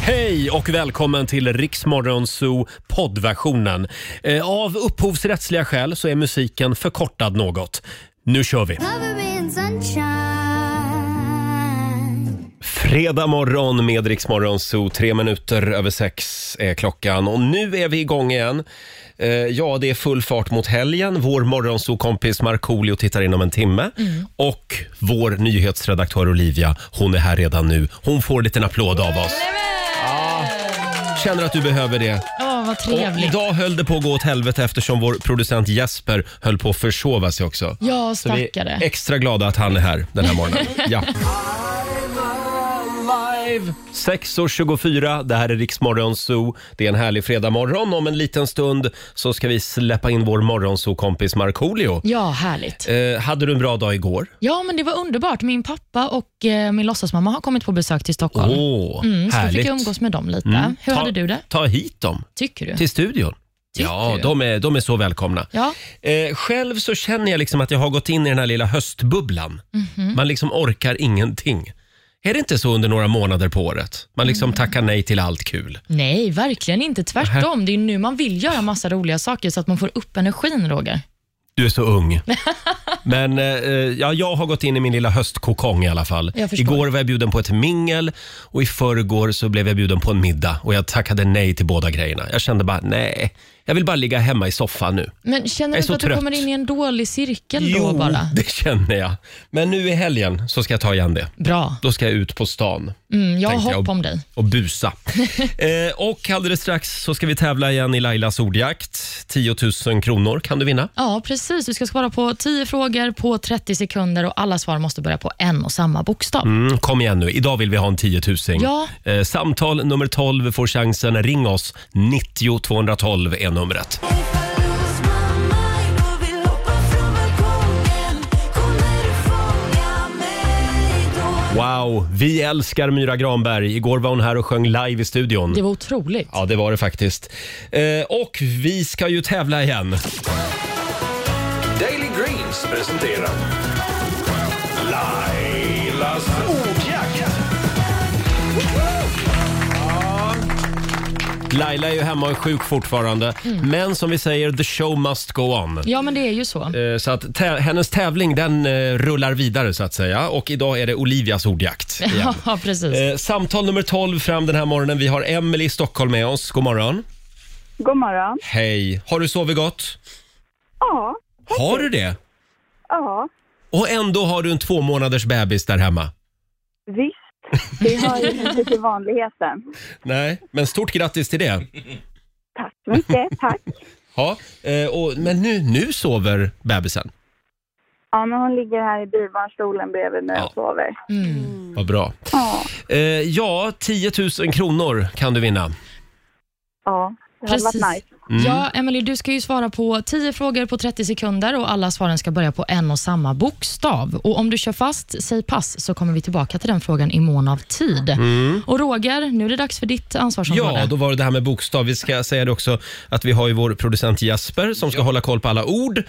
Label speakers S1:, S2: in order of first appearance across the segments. S1: Hej och välkommen till Riksmorgon Zoo poddversionen. Eh, Av upphovsrättsliga skäl så är musiken förkortad något. Nu kör vi!
S2: Cover me in sunshine.
S1: Fredag morgon med Riksmorgon Zoo. Tre minuter över sex är klockan och nu är vi igång igen. Eh, Ja, det är full fart mot helgen. Vår morgonzoo-kompis Markoolio tittar in om en timme. Och vår nyhetsredaktör Olivia, hon är här redan nu. Hon får en liten applåd av oss. Ja, känner att du behöver det.
S3: Ja, vad
S1: Och
S3: trevligt.
S1: idag höll det på att gå åt helvete eftersom vår producent Jesper höll på att försova sig också.
S3: Ja,
S1: Så vi
S3: stackare.
S1: är extra glada att han är här den här morgonen. Ja. 6.24, det här är Riksmorgon Zoo. Det är en härlig fredagmorgon. Om en liten stund så ska vi släppa in vår morgonzoo-kompis Markoolio.
S3: Ja, härligt.
S1: Eh, hade du en bra dag igår?
S3: Ja, men det var underbart. Min pappa och eh, min låtsasmamma har kommit på besök till
S1: Åh,
S3: Stockholm. mm, så
S1: härligt.
S3: fick jag umgås med dem lite.
S1: Mm.
S3: Hur
S1: ta,
S3: hade du det?
S1: Ta hit dem
S3: Tycker du?
S1: till studion.
S3: Tycker
S1: ja,
S3: du?
S1: de är, de är så välkomna.
S3: Ja,
S1: Eh, själv så känner jag liksom att jag har gått in i den här lilla höstbubblan.
S3: Mhm.
S1: Man liksom orkar ingenting. Är det inte så under några månader på året? Man liksom
S3: Mm.
S1: tackar nej till allt kul.
S3: nej, verkligen inte. Tvärtom. Det är nu man vill göra massa roliga saker så att man får upp energin, Roger.
S1: Du är så ung. Men eh, ja, jag har gått in i min lilla höstkokong i alla fall.
S3: Jag förstår.
S1: Igår var jag bjuden på ett mingel och i förrgår så blev jag bjuden på en middag och jag tackade nej till båda grejerna. Jag kände bara nej, jag vill bara ligga hemma i soffan nu.
S3: Men känner
S1: Jag är
S3: du
S1: så
S3: inte att du
S1: trött.
S3: kommer in i en dålig cirkel då bara?
S1: det känner jag. Men nu i helgen så ska jag ta igen det.
S3: Bra.
S1: Då ska jag ut på stan.
S3: Mm, jag har
S1: tänkte jag.
S3: hopp om dig.
S1: och busa. eh, och alldeles strax så ska vi tävla igen i Lailas ordjakt. 10 000 kronor kan du vinna.
S3: Ja, precis. Du ska svara på 10 frågor på 30 sekunder och alla svar måste börja på en och samma bokstav.
S1: Mm, kom igen nu, idag vill vi ha en 10 000.
S3: Ja.
S1: Eh, samtal nummer 12 får chansen. Ring oss, 90 212 är numret. Wow, vi älskar Myra Granberg. Igår var hon här och sjöng live i studion.
S3: Det var otroligt.
S1: Ja, det var det faktiskt. Eh, och vi ska ju tävla igen.
S4: Daily Greens presenterar Lailas ordjakt.
S1: Laila är ju hemma och är sjuk fortfarande.
S3: Mm.
S1: Men som vi säger, the show must go on.
S3: Ja, men det är ju så.
S1: Eh, Så att tä- hennes tävling den eh, rullar vidare så att säga och idag är det Olivias ordjakt. igen.
S3: Ja, precis.
S1: Eh, Samtal nummer 12 fram den här morgonen. Vi har Emily i Stockholm med oss. God morgon.
S5: God morgon.
S1: Hej. Har du sovit gott?
S5: Ja,
S1: Har du det?
S5: ja,
S1: Och ändå har du en två månaders bebis där hemma.
S5: visst. Det har ju inte till vanligheten.
S1: Nej, men stort grattis till det.
S5: Tack så mycket, tack.
S1: Ja, eh, och, men nu, nu sover bebisen.
S5: Ja, men hon ligger här i bilbarnstolen bredvid mig
S1: Ja.
S5: och sover.
S3: Mm.
S5: Mm.
S1: Vad bra.
S5: Ja,
S1: Eh, Ja, 10 000 kronor kan du vinna.
S5: ja det hade
S3: Precis.
S5: varit nice.
S1: Mm.
S3: Ja, Emily, du ska ju svara på 10 frågor på 30 sekunder och alla svaren ska börja på en och samma bokstav. Och Om du kör fast, säg pass, så kommer vi tillbaka till den frågan i mån av tid. Och Roger, nu är det dags för ditt ansvarsområde.
S1: Mm. Ja, då var det det här med bokstav. Vi ska säga det också att vi har ju vår producent Jesper som ska hålla koll på alla ord.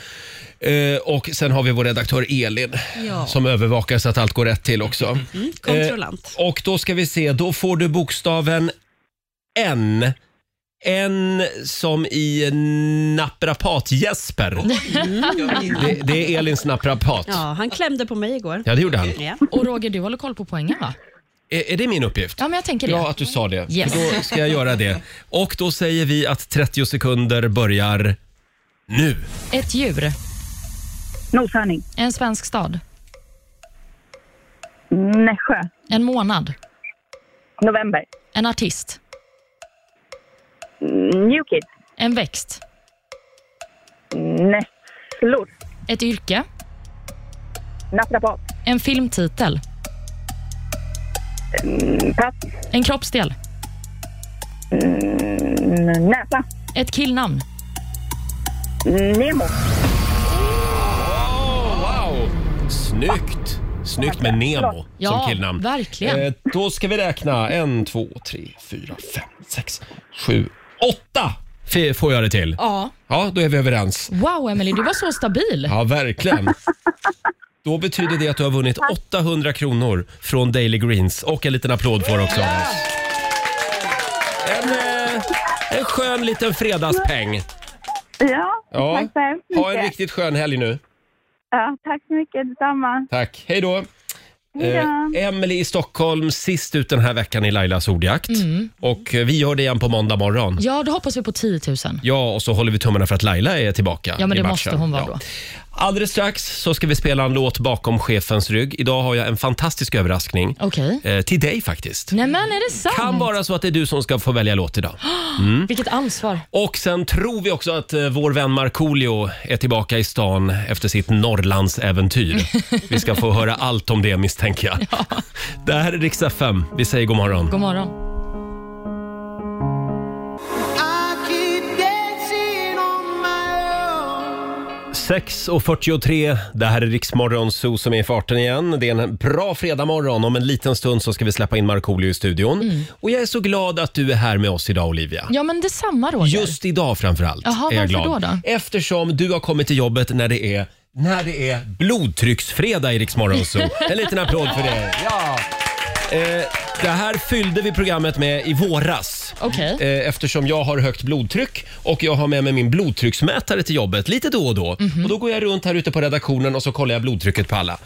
S1: Eh, och sen har vi vår redaktör Elin
S6: Ja.
S1: som övervakar så att allt går rätt till också.
S6: Kontrollant.
S1: Och då ska vi se, då får du bokstaven N. N som i naprapat-Jesper. Det, det är Elins naprapat.
S6: Eh, Ja, han klämde på mig igår.
S1: Ja, det gjorde han.
S6: Ja.
S3: Och Roger, du håller koll på poängen, va?
S1: Är, är det min uppgift?
S3: Ja, men jag tänker det.
S1: Bra att du sa det.
S3: Yes.
S1: Då ska jag göra det. Och då säger vi att 30 sekunder börjar nu.
S3: Ett djur,
S5: Noshörning.
S3: en svensk stad,
S5: Nässjö.
S3: en månad,
S5: November.
S3: en artist,
S5: New Kids.
S3: en växt,
S5: Nässlor.
S3: ett yrke,
S5: Naprapat.
S3: en filmtitel,
S5: Pass.
S3: en kroppsdel,
S5: Eh, Näsa.
S3: ett killnamn.
S5: Nemo.
S1: wow! Snyggt! Snyggt med Nemo
S3: Ja,
S1: som killnamn.
S3: verkligen.
S1: Eh, då ska vi räkna. En, två, tre, fyra, fem, sex, sju, åtta! F- får jag det till.
S3: Ja.
S1: Ja, då är vi överens.
S3: Wow, Emily, du var så stabil.
S1: Ja, verkligen. Då betyder det att du har vunnit 800 kronor från Daily Greens och en liten applåd för också av oss. En, eh, en skön liten fredagspeng.
S5: Ja,
S1: Ja.
S5: tack så hemskt mycket.
S1: Ha en riktigt skön helg nu.
S5: ja, tack så mycket, detsamma.
S1: Tack. Hej då.
S5: Hej då.
S1: Emelie i Stockholm, sist ut den här veckan i Lailas ordjakt. Och eh, vi gör det igen på måndag morgon.
S3: Mm. Ja, då hoppas vi på 10 000.
S1: Ja, och så håller vi tummarna för att Laila är tillbaka
S3: Ja, men
S1: i
S3: det
S1: matchen.
S3: måste hon vara
S1: Ja.
S3: då.
S1: Alldeles strax så ska vi spela en låt bakom chefens rygg. Idag har jag en fantastisk överraskning.
S3: Okej.
S1: Eh, till dig faktiskt.
S3: Nämen, är det sant?
S1: Kan Mm. vara så att det är du som ska få välja låt idag.
S3: Vilket ansvar.
S1: Och sen tror vi också att eh, vår vän Markoolio är tillbaka i stan efter sitt Norrlandsäventyr. Vi ska få höra allt om det misstänker jag. Det här är Rix FM. Vi säger god morgon.
S3: God morgon.
S2: I keep dancing on my own.
S1: 6.43, det här är Riksmorgon Zoo som är i farten igen. Det är en bra fredagmorgon. Om en liten stund så ska vi släppa in Markoolio i studion.
S3: Mm.
S1: Och jag är så glad att du är här med oss idag Olivia.
S3: Ja, men detsamma Roger.
S1: Just idag framförallt
S3: Jaha,
S1: är jag
S3: varför
S1: glad.
S3: då då?
S1: Eftersom du har kommit till jobbet när det är, när det är blodtrycksfredag i Riksmorgon Zoo. En liten applåd för det. Ja. Eh, det här fyllde vi programmet med i våras.
S3: Okej.
S1: Eh, Eftersom jag har högt blodtryck och jag har med mig min blodtrycksmätare till jobbet lite då och då. Och då går jag runt här ute på redaktionen och så kollar jag blodtrycket på alla.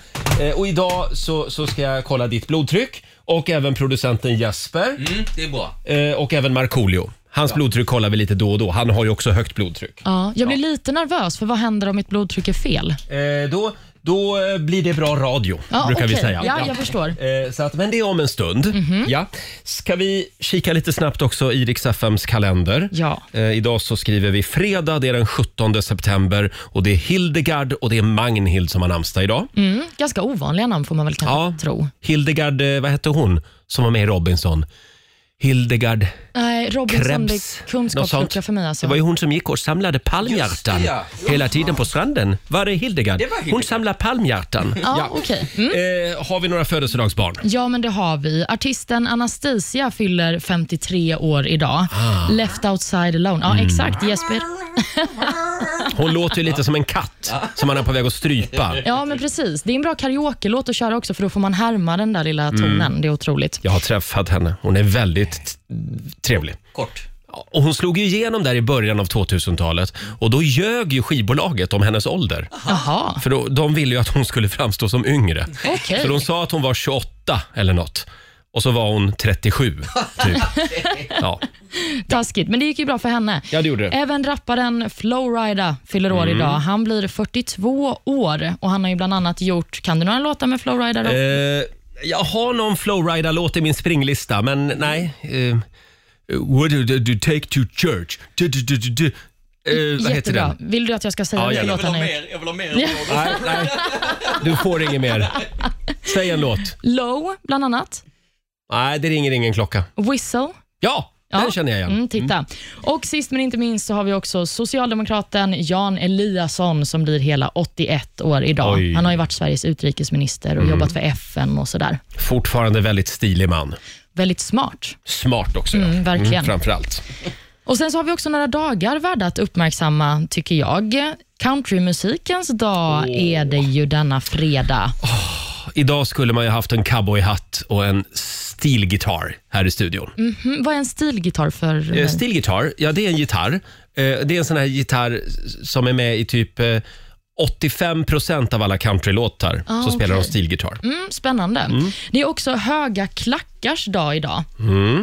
S1: Eh, Och idag så, så ska jag kolla ditt blodtryck och även producenten Jesper
S7: Mm, det är bra.
S1: eh, och även Markoolio. Hans blodtryck kollar vi lite då och då. Han har ju också högt blodtryck.
S3: Ja, jag blir lite nervös, för vad händer om mitt blodtryck är fel?
S1: Eh, Då, då eh, blir det bra radio,
S3: Ja,
S1: brukar vi
S3: okej.
S1: säga.
S3: Ja, jag förstår. Mhm.
S1: Eh, Så att, men det är om en stund. Ja. Ska vi kika lite snabbt också i Rix FMs kalender?
S3: Ja.
S1: Eh, idag så skriver vi fredag, det är den 17 september och det är Hildegard och det är Magnhild som har namnsdag idag.
S3: Mm, ganska ovanliga namn får man väl kanske
S1: Ja.
S3: tro.
S1: Hildegard, eh, vad hette hon som var med i Robinson? Hildegard
S3: Nej, Robinson, det
S1: Krebs?
S3: är
S1: något sånt.
S3: kunskapslucka för mig alltså.
S1: Det var ju hon som gick och samlade palmhjärtan
S7: Just det, ja.
S1: hela tiden på stranden. Var det Hildegard?
S7: Det var Hildegard.
S1: Hon samlade palmhjärtan.
S3: Ja, okej. Mm.
S1: Eh, har vi några födelsedagsbarn?
S3: Ja, men det har vi. Artisten Anastasia fyller 53 år idag.
S1: Ah.
S3: Left outside alone. Ja,
S1: Mm.
S3: exakt. Jesper.
S1: Hon låter ju lite som en katt som man är på väg att strypa.
S3: Ja, men precis. Det är en bra karaoke-låt att köra också, för då får man härma den där lilla tonen.
S1: Mm.
S3: Det är otroligt.
S1: Jag har träffat henne. Hon är väldigt t- trevlig.
S7: Kort.
S1: Och hon slog ju igenom där i början av 2000-talet och då ljög ju skivbolaget om hennes ålder.
S3: Jaha,
S1: För då, de ville ju att hon skulle framstå som yngre.
S3: okej.
S1: Så de sa att hon var 28 eller något. Och så var hon 37, typ. Ja,
S3: Taskigt, men det gick ju bra för henne.
S1: Ja, det Mm. gjorde det.
S3: Även rapparen Flowrida fyller år idag. Han blir 42 år och han har ju bland annat gjort... Kan du några låtar med Flowrida? Då?
S1: Eh, jag har någon Flowrider-låt i min springlista, men nej. Eh, what do you take to church? Du, du, du, du, du. Eh, vad heter
S3: Jättebra.
S1: den?
S3: Vill du att jag ska säga
S1: Ja,
S3: vilka
S1: gärna.
S7: Jag vill ha
S3: låtar han har gjort?
S7: mer, jag vill ha mer. Ja.
S1: Nej, nej. Du får inget mer. Säg en låt.
S3: Low, bland annat.
S1: Nej, det ringer ingen klocka.
S3: Whistle.
S1: Ja,
S3: Ja.
S1: den känner jag igen.
S3: Mm, titta. Och sist men inte minst så har vi också socialdemokraten Jan Eliasson som blir hela 81 år idag.
S1: Oj. Mm.
S3: Han har ju varit Sveriges utrikesminister och jobbat för FN och sådär.
S1: Fortfarande väldigt stilig man.
S3: Väldigt smart.
S1: Smart också. ja.
S3: Mm, verkligen.
S1: framförallt.
S3: Och Sen så har vi också några dagar värda att uppmärksamma, tycker jag. Countrymusikens dag är det ju denna fredag.
S1: Idag skulle man ju haft en cowboyhatt och en stilgitarr här i studion.
S3: Mm, vad är en stilgitarr för
S1: Eh,
S3: mig?
S1: Stilgitarr, ja det är en gitarr. Eh, Det är en sån här gitarr som är med i typ eh, 85% av alla countrylåtar
S3: Ah,
S1: så spelar de
S3: okej.
S1: stilgitarr.
S3: Mm, spännande. Det är också höga klackars dag idag.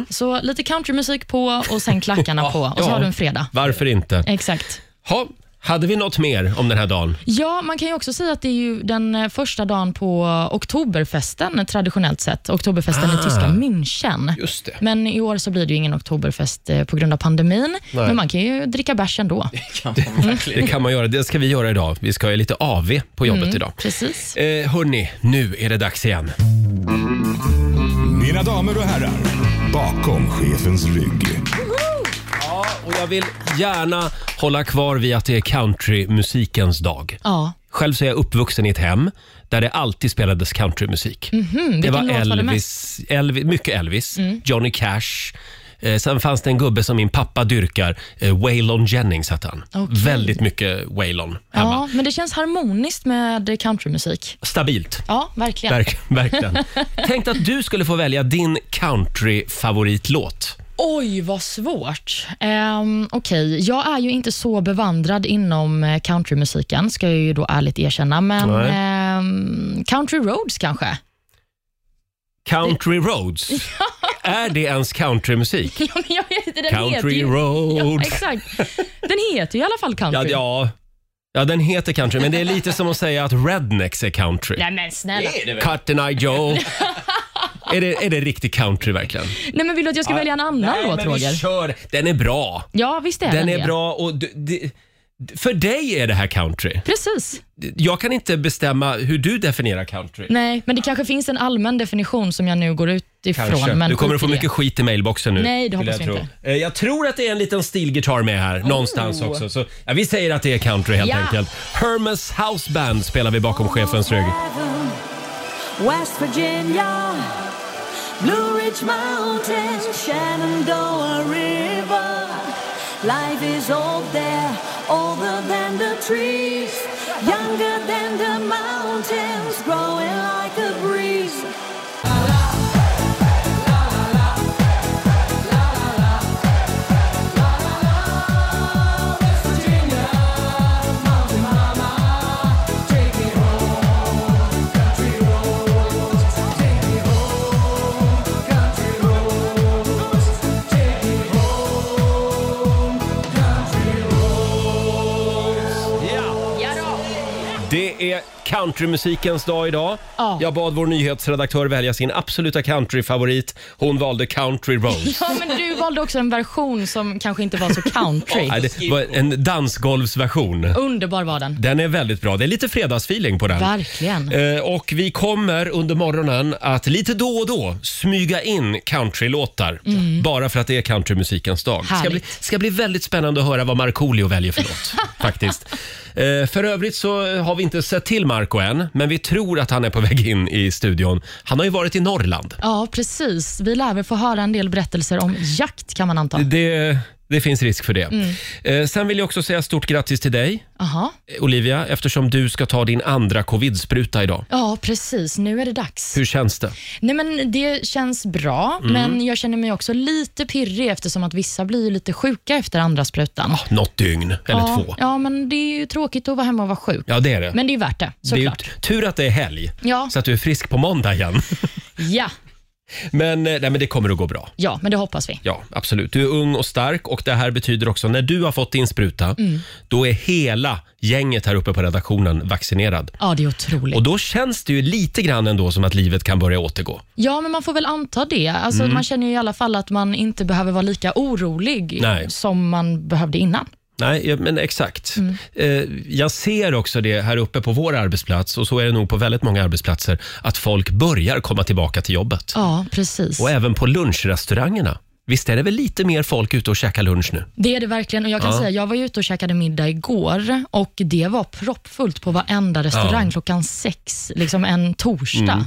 S3: Så lite countrymusik på och sen klackarna på och så
S1: Mm. Ja.
S3: har du en fredag.
S1: Varför inte?
S3: Exakt.
S1: Ha, hade vi något mer om den här dagen?
S3: Ja, man kan ju också säga att det är ju den eh, första dagen på Oktoberfesten traditionellt sett. Oktoberfesten i tyska München.
S1: Ah. Just det.
S3: Men i år så blir det ju ingen Oktoberfest eh, på grund av pandemin.
S1: Nej.
S3: Men man kan ju dricka bärs ändå.
S1: Det kan man göra. Det ska vi göra idag. Vi ska ha lite AV på jobbet idag.
S3: Mm, Precis.
S1: Eh, hörni, nu är det dags igen.
S4: Mina damer och herrar, bakom chefens rygg.
S1: Och jag vill gärna hålla kvar vid att det är countrymusikens dag.
S3: Ja.
S1: Själv så är jag uppvuxen i ett hem där det alltid spelades countrymusik. det var
S3: Mhm, låt var det Mm.
S1: Elvis, Elvis, mycket Elvis, Johnny Cash. Eh, sen fanns det en gubbe som min pappa dyrkar, eh, Waylon Jennings hette han.
S3: Okej.
S1: Väldigt mycket Waylon hemma.
S3: ja, men det känns harmoniskt med countrymusik.
S1: Stabilt.
S3: Ja, verkligen.
S1: Verk, verkligen. Tänk att du skulle få välja din countryfavoritlåt.
S3: Oj, vad svårt. Um, Okej, jag är ju inte så bevandrad inom eh, countrymusiken, ska jag ju då ärligt erkänna, men
S1: Nej.
S3: ehm, country roads kanske?
S1: Country Roads. Är det ens countrymusik?
S3: Ja, men jag vet inte, den heter
S1: Country
S3: ju... Ja,
S1: Roads.
S3: exakt. Den heter ju i alla fall
S1: Ja,
S3: country.
S1: ja. ja, den heter country, men det är lite som att säga att rednecks är country.
S3: Nej men snälla.
S1: Cut and I Joe. är, det, är det riktig country verkligen?
S3: Nej, men vill du att jag ska välja en annan låt, Roger?
S1: vi kör. Den är bra.
S3: Ja, visst är den,
S1: Den
S3: det.
S1: är bra och du, det- för dig är det här country.
S3: Precis.
S1: Jag kan inte bestämma hur du definierar country.
S3: Nej, men det kanske finns en allmän definition som jag nu går ut ifrån.
S1: Kanske.
S3: Men typ
S1: du kommer att
S3: skit
S1: få
S3: i det.
S1: mycket skit i mailboxen nu.
S3: Nej, det
S1: vill
S3: hoppas
S1: jag
S3: vi
S1: tro.
S3: inte. Oh.
S1: Eh, Jag tror att det är en liten stilgitarr med här någonstans också. Så, ja, vi säger att det är country helt
S3: Ja.
S1: enkelt. Hermes House Band spelar vi bakom chefens rygg.
S7: West Virginia, Blue Ridge Mountains, Shenandoah River. Life is old there, older than the trees, younger than the mountains, growing like a breeze.
S1: Det är countrymusikens dag idag.
S3: Ja.
S1: Jag bad vår nyhetsredaktör välja sin absoluta countryfavorit. Hon valde Country Roads.
S3: Ja, men du valde också en version som kanske inte var så country.
S1: Nej, det var en dansgolvsversion.
S3: Underbar var den.
S1: Den är väldigt bra. Det är lite fredagsfeeling på den.
S3: Verkligen.
S1: Eh, Och vi kommer under morgonen att lite då och då smyga in countrylåtar. Bara för att det är countrymusikens dag. Det ska
S3: Mm. Härligt.
S1: bli, ska bli väldigt spännande att höra vad Markoolio väljer för låt. faktiskt. Eh, För övrigt så har vi inte sett till Marco än, men vi tror att han är på väg in i studion. Han har ju varit i Norrland.
S3: Ja, precis. Vi lär väl få höra en del berättelser om jakt kan man anta.
S1: Det, det finns risk för det.
S3: Mm.
S1: Eh, Sen vill jag också säga stort grattis till dig,
S3: Aha.
S1: eh, Olivia, eftersom du ska ta din andra covid-spruta idag.
S3: Ja, precis. Nu är det dags.
S1: Hur känns det?
S3: Nej, men det känns bra,
S1: Mm.
S3: men jag känner mig också lite pirrig eftersom att vissa blir ju lite sjuka efter andra sprutan.
S1: Något dygn Ah, eller
S3: ja,
S1: två.
S3: ja, men det är ju tråkigt att vara hemma och vara sjuk.
S1: Ja, det är det.
S3: Men det är ju värt det,
S1: det är ju
S3: såklart.
S1: t- tur att det är helg,
S3: Ja.
S1: så att du är frisk på måndag igen.
S3: Ja,
S1: Men, eh, nej, men det kommer att gå bra.
S3: ja, men det hoppas vi.
S1: Ja, absolut. Du är ung och stark och det här betyder också när du har fått din spruta,
S3: Mm.
S1: då är hela gänget här uppe på redaktionen vaccinerad.
S3: Ja, det är otroligt.
S1: Och då känns det ju lite grann ändå som att livet kan börja återgå.
S3: Ja, men man får väl anta det. Alltså,
S1: Mm.
S3: Man känner ju i alla fall att man inte behöver vara lika orolig
S1: Nej.
S3: som man behövde innan.
S1: Nej, ja, men exakt.
S3: Mm.
S1: Eh, Jag ser också det här uppe på vår arbetsplats och så är det nog på väldigt många arbetsplatser att folk börjar komma tillbaka till jobbet.
S3: Ja, precis.
S1: Och även på lunchrestaurangerna. Visst är det väl lite mer folk ute och käkar lunch nu?
S3: Det är det verkligen. Och jag kan
S1: Ja.
S3: säga, jag var ju ute och käkade middag igår och det var proppfullt på varenda restaurang
S1: Ja. Mm.
S3: klockan sex, liksom en torsdag.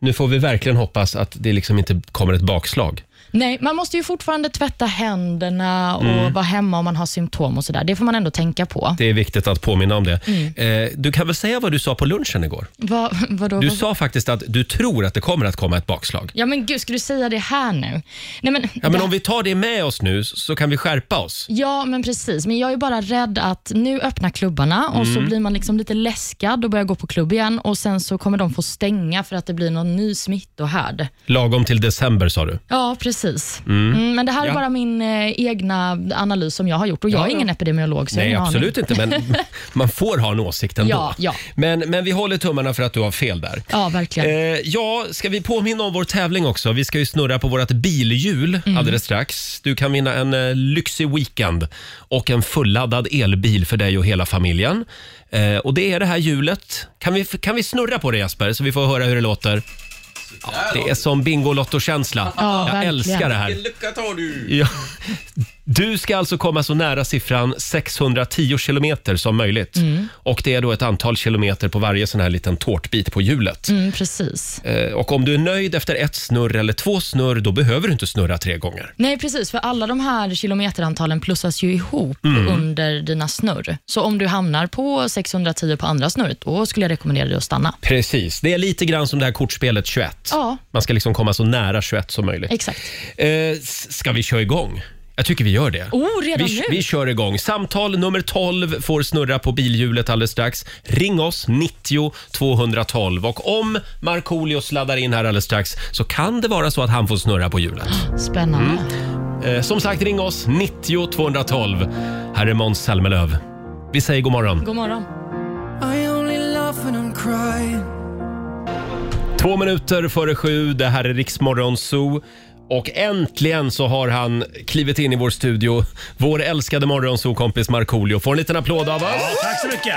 S1: Nu får vi verkligen hoppas att det liksom inte kommer ett bakslag.
S3: Nej, man måste ju fortfarande tvätta händerna och
S1: Mm.
S3: vara hemma om man har symptom och sådär. Det får man ändå tänka på.
S1: Det är viktigt att påminna om det.
S3: Mm.
S1: Eh, du kan väl säga vad du sa på lunchen igår?
S3: Va, vadå,
S1: Du
S3: vad-
S1: sa faktiskt att du tror att det kommer att komma ett bakslag.
S3: Ja men gud, ska du säga det här nu? Nej, men,
S1: Ja, men om vi tar det med oss nu så så kan vi skärpa oss.
S3: Ja, men precis. Men jag är bara rädd att nu öppnar klubbarna och
S1: Mm.
S3: så blir man liksom lite läskad och börjar gå på klubb igen och sen så kommer de få stänga för att det blir någon ny smittohärd.
S1: Lagom till december sa du.
S3: Ja, precis. Mm, men det här
S1: Ja.
S3: är bara min eh, egna analys som jag har gjort och jag
S1: Ja,
S3: är
S1: ja.
S3: ingen epidemiolog. Så jag har
S1: Nej,
S3: ingen
S1: absolut
S3: aning.
S1: inte. Men man får ha en åsikt ändå.
S3: Ja, ja.
S1: Men, men vi håller tummarna för att du har fel där.
S3: Ja, verkligen.
S1: Eh, ja, ska vi påminna om vår tävling också? Vi ska ju snurra på vårt bilhjul
S3: Mm.
S1: alldeles strax. Du kan vinna en eh, lyxig weekend och en fulladdad elbil för dig och hela familjen. Eh, och det är det här hjulet. Kan vi, kan vi snurra på det Jesper, så vi får höra hur det låter? Ja, det är som Bingolotto-känsla.
S3: Ja,
S1: Jag
S3: verkligen.
S1: älskar det här.
S8: Lycka tar du!
S1: Ja. Du ska alltså komma så nära siffran 610 kilometer som möjligt.
S3: Mm.
S1: Och det är då ett antal kilometer på varje sån här liten tårtbit på hjulet.
S3: Mm, precis.
S1: Eh, Och om du är nöjd efter ett snurr eller två snurr, då behöver du inte snurra tre gånger.
S3: Nej, precis. För alla de här kilometerantalen plussas ju ihop
S1: Mm.
S3: under dina snurr. Så om du hamnar på 610 på andra snurret, då skulle jag rekommendera dig att stanna.
S1: Precis, det är lite grann som det här kortspelet 21.
S3: Ja.
S1: Man ska liksom komma så nära 21 som möjligt.
S3: Exakt.
S1: Eh, s- ska vi köra igång? Jag tycker vi gör det.
S3: Oh, redan
S1: vi,
S3: nu?
S1: vi kör igång. Samtal nummer 12 får snurra på bilhjulet alldeles strax. Ring oss, 90 212. Och om Markoolio sladdar in här alldeles strax så kan det vara så att han får snurra på hjulet.
S3: Spännande.
S1: Eh, som sagt, ring oss, 90 212. Här är Måns Zelmerlöw. Vi säger god morgon.
S3: God morgon.
S1: Två minuter före sju, det här är Riksmorgon Zoo. Och äntligen så har han klivit in i vår studio. Vår älskade morgonzoo-kompis Markoolio får en liten applåd av oss.
S9: Tack så mycket!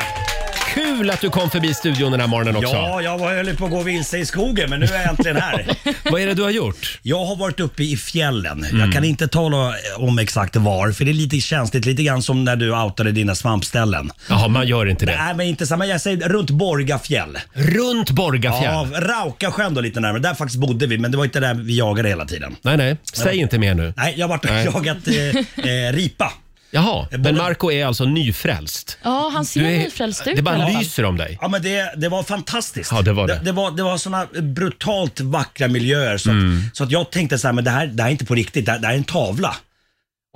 S1: Kul att du kom förbi studion den här morgonen också.
S9: Ja, jag var- höll på att gå vilse i skogen men nu är jag äntligen här.
S1: Vad är det du har gjort?
S9: Jag har varit uppe i fjällen. Jag kan inte tala om exakt var för det är lite känsligt. Lite grann som när du outade dina svampställen.
S1: Jaha, man gör inte det.
S9: Nej men inte samma. Jag säger runt Borgafjäll.
S1: Runt
S9: Ja,
S1: Borgafjäll.
S9: Raukasjön då lite närmare. Där faktiskt bodde vi men det var inte där vi jagade hela tiden.
S1: Nej, nej. Säg inte mer nu.
S9: Nej, jag har varit och jagat eh, eh, ripa.
S1: Jaha, men Marco är alltså nyfrälst.
S3: Ja, han ser
S1: Du är-
S3: nyfrälst ut
S1: Det
S3: i alla
S1: bara
S3: fall.
S1: lyser om dig.
S9: Ja, men det, det var fantastiskt.
S1: Ja, det var det.
S9: Det, var, det var såna brutalt vackra miljöer. Så,
S1: Mm.
S9: att, så att jag tänkte så här, men det här, det här är inte på riktigt, det här, det här är en tavla.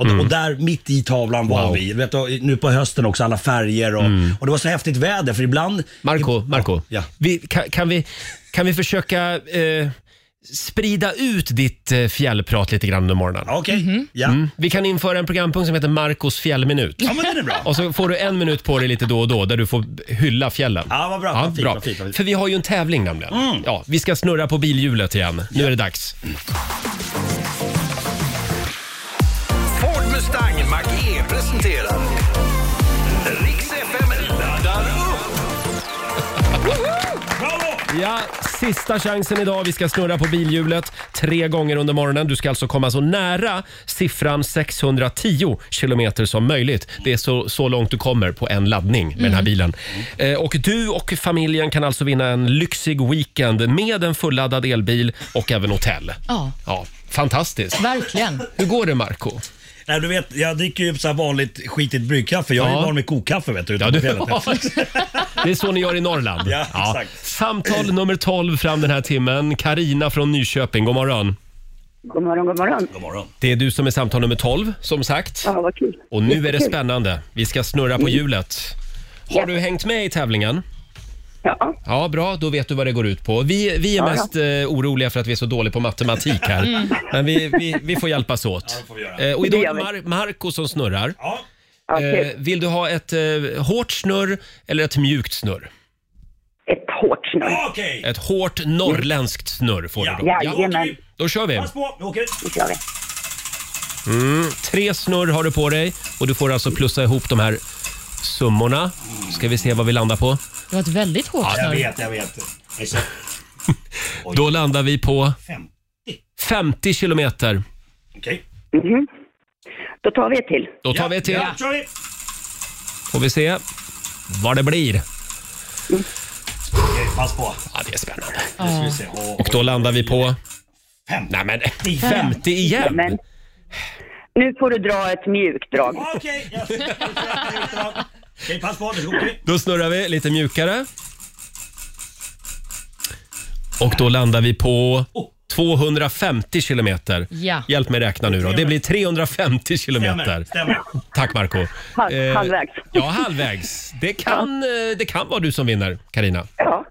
S9: Och, och där mitt i tavlan var
S1: Mm. Wow. Mm.
S9: vi. Vet du, nu på hösten också, alla färger och, och det var så häftigt väder för ibland...
S1: Marco, Marco.
S9: Ja.
S1: Vi, kan, kan, vi, kan vi försöka eh, sprida ut ditt eh, fjällprat lite grann under morgonen? Mm.
S9: Ja, Okej, ja.
S1: Vi kan införa en programpunkt som heter Marcos fjällminut.
S9: Ja men den är bra.
S1: Och så får du en minut på dig lite då och då där du får hylla fjällen.
S9: Ja, vad bra. Vad fint, vad fint, vad fint. Mm.
S1: För vi har ju en tävling nämligen. Ja, vi ska snurra på bilhjulet igen. Nu är det dags.
S10: Ford Mustang Mach-E presenterar Riks FM laddar upp.
S9: Bravo!
S1: Ja, sista chansen idag. Vi ska snurra på bilhjulet tre gånger under morgonen. Du ska alltså komma så nära siffran 610 kilometer som möjligt. Det är så, så långt du kommer på en laddning med den här bilen. Eh, och du och familjen kan alltså vinna en lyxig weekend med en fulladdad elbil och även hotell.
S3: Ja,
S1: Ja, fantastiskt.
S3: verkligen.
S1: Hur går det Marco?
S9: Nej, du vet, jag dricker ju så här vanligt skitigt bryggkaffe. Jag är
S1: Ja.
S9: ju van vid kokkaffe vet du.
S1: Ja,
S9: Ja,
S1: du,
S9: du...
S1: det är så ni gör i Norrland.
S9: Ja, exakt.
S1: Samtal nummer 12 fram den här timmen. Karina från Nyköping, god morgon.
S11: God morgon, god morgon.
S9: God morgon.
S1: Det är du som är samtal nummer 12, som sagt.
S11: Ja, Mm. vad kul.
S1: Och nu är det
S11: Jättekul.
S1: spännande. Vi ska snurra på hjulet. Har du hängt med i tävlingen?
S11: Ja,
S1: Ja, bra. Då vet du vad det går ut på. Vi, vi är mest eh, oroliga för att vi är så dåliga på matematik här. Men vi, vi, vi får hjälpas åt.
S9: det får vi göra.
S1: Eh, och idag
S11: Mm. Det
S1: är
S11: gör
S1: det
S11: vi.
S1: Mar- Marco som snurrar.
S9: Ja.
S11: ja
S1: Eh,
S11: kul.
S1: vill du ha ett eh, hårt snurr eller ett mjukt snurr?
S11: Ett hårt snurr.
S9: Okej,
S1: Ett hårt norrländskt snurr får du då.
S9: Ja.
S11: Jajamän,
S9: okej.
S1: Då kör vi.
S9: pass på. Nu åker vi.
S11: nu kör vi.
S1: Tre snurr har du på dig och du får alltså plussa ihop de här summorna. Ska vi se vad vi landar på.
S3: Det var ett väldigt hårt
S9: Jag
S3: snurr.
S9: vet, jag vet. Jag är så-
S1: Då landar vi på
S9: Fem.
S1: 50 kilometer.
S9: Okej.
S11: Då tar vi ett till.
S1: Då tar
S9: Ja,
S1: vi ett till.
S9: Ja, kör vi.
S1: Får vi se vad det blir.
S9: Okej, pass på.
S1: Ja, det är spännande.
S9: Nu ska vi se. Åh,
S1: Och då landar vi på...
S9: Fem.
S1: Nej men,
S9: Fem.
S1: 50 igen!
S11: Men nu får du dra ett mjukt drag.
S9: Okej, yes. Okej, pass på. Nu åker vi.
S1: Då snurrar vi lite mjukare. Och då landar vi på 250 kilometer.
S3: Ja.
S1: Hjälp mig räkna nu då. Det blir 350
S9: Stämmer.
S1: kilometer.
S9: Stämmer.
S1: Tack Marco.
S11: Hal-
S1: Eh,
S11: halvvägs.
S1: Ja, halvvägs. Det kan, eh, det kan vara du som vinner, Karina.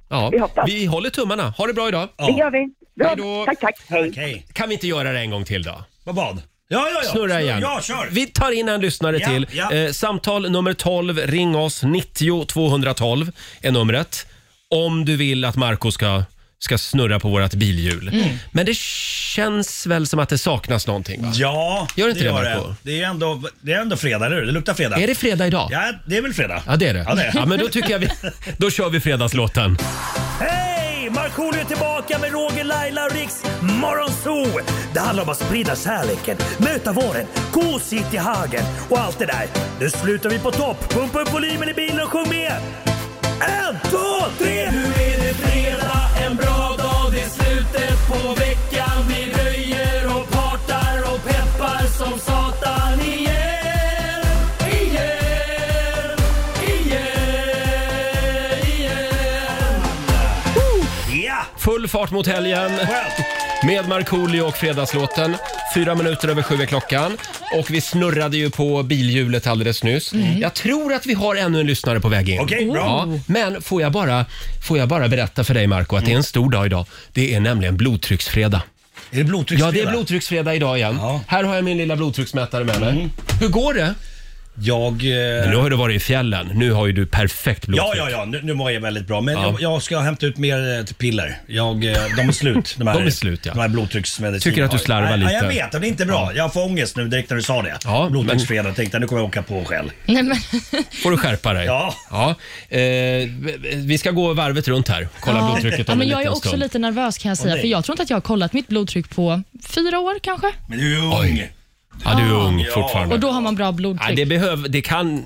S11: Ja, vi hoppas.
S1: Vi håller tummarna. Ha det bra idag.
S11: Det gör vi.
S1: Hej
S11: Bra.
S1: då.
S11: Tack, tack. Hej.
S9: Okej.
S1: Kan vi inte göra det en gång till då?
S9: Vad vad? Ja, ja, ja.
S1: Snurra igen.
S9: Ja, kör.
S1: Vi tar in en lyssnare
S9: Ja,
S1: till.
S9: ja.
S1: Eh, samtal nummer 12, ring oss. 90 212 är numret. Om du vill att Marco ska, ska snurra på vårt bilhjul.
S9: Mm.
S1: Men det känns väl som att det saknas någonting? Va?
S9: Ja,
S1: Gör inte det, Marco?
S9: det. Det är ändå, det är ändå fredag, eller hur? Det luktar fredag.
S1: Är det fredag idag?
S9: Ja, det är väl fredag?
S1: Ja, det är det.
S9: Ja, det är.
S1: men då tycker jag vi... Då kör vi fredagslåten.
S9: Hej! Hej! Markoolio är tillbaka med Roger, Laila och Riks Morgonzoo! Det handlar om att sprida kärleken, möta våren, gosigt i hagen och allt det där. Nu slutar vi på topp! Pumpa upp volymen i bilen och sjung med! En, två, tre! Nu är det fredag, en bra dag, det är slutet på veckan. Vi röjer och partar och peppar som satan igen. Igen, igen, igen. Ja!
S1: Full fart mot helgen
S9: Skönt!
S1: med Markoolio och Fredagslåten. Fyra minuter över sju är klockan. Och vi snurrade ju på bilhjulet alldeles nyss. Jag tror att vi har ännu en lyssnare på väg in.
S9: Mm. Okej, bra.
S1: Ja, men får jag, bara, får jag bara berätta för dig Marco att det är
S9: Mm.
S1: en stor dag idag. Det är nämligen blodtrycksfredag.
S9: Är det
S1: Ja,
S9: blodtrycksfredag?
S1: det är blodtrycksfredag idag igen.
S9: Ja. Mm.
S1: Här har jag min lilla blodtrycksmätare med mig. Hur går det?
S9: Jag... Eh...
S1: Nu har du varit i fjällen. Nu har ju du perfekt blodtryck.
S9: Ja, ja, ja. Nu, nu mår jag väldigt bra. Men
S1: Ja.
S9: jag, jag ska hämta ut mer eh, till piller. Jag, eh, de är slut. De, här,
S1: De är slut, ja.
S9: De här blodtrycksmedicinerna.
S1: Tycker att du slarvar
S9: Nej,
S1: lite.
S9: Nej, jag vet. Det är inte bra. Jag får ångest nu direkt när du sa det.
S1: Ja,
S9: Blodtrycksfredag. Tänkte jag, nu kommer jag åka på själv.
S3: Nej, men,
S1: får du skärpa dig.
S9: Ja.
S1: Eh, vi ska gå varvet runt här. Kolla
S3: ja.
S1: blodtrycket
S3: ja,
S1: om
S3: men
S1: en
S3: Jag är
S1: liten
S3: också
S1: stund.
S3: lite nervös kan jag säga,
S9: nej.
S3: för jag tror inte att jag har kollat mitt blodtryck på fyra år kanske.
S9: Men du är ju ung.
S1: Oj. Ja, du är ung
S9: Ja.
S1: fortfarande.
S3: Och då har man bra
S1: Nej, det,
S3: blodtryck.
S1: behöv, det kan...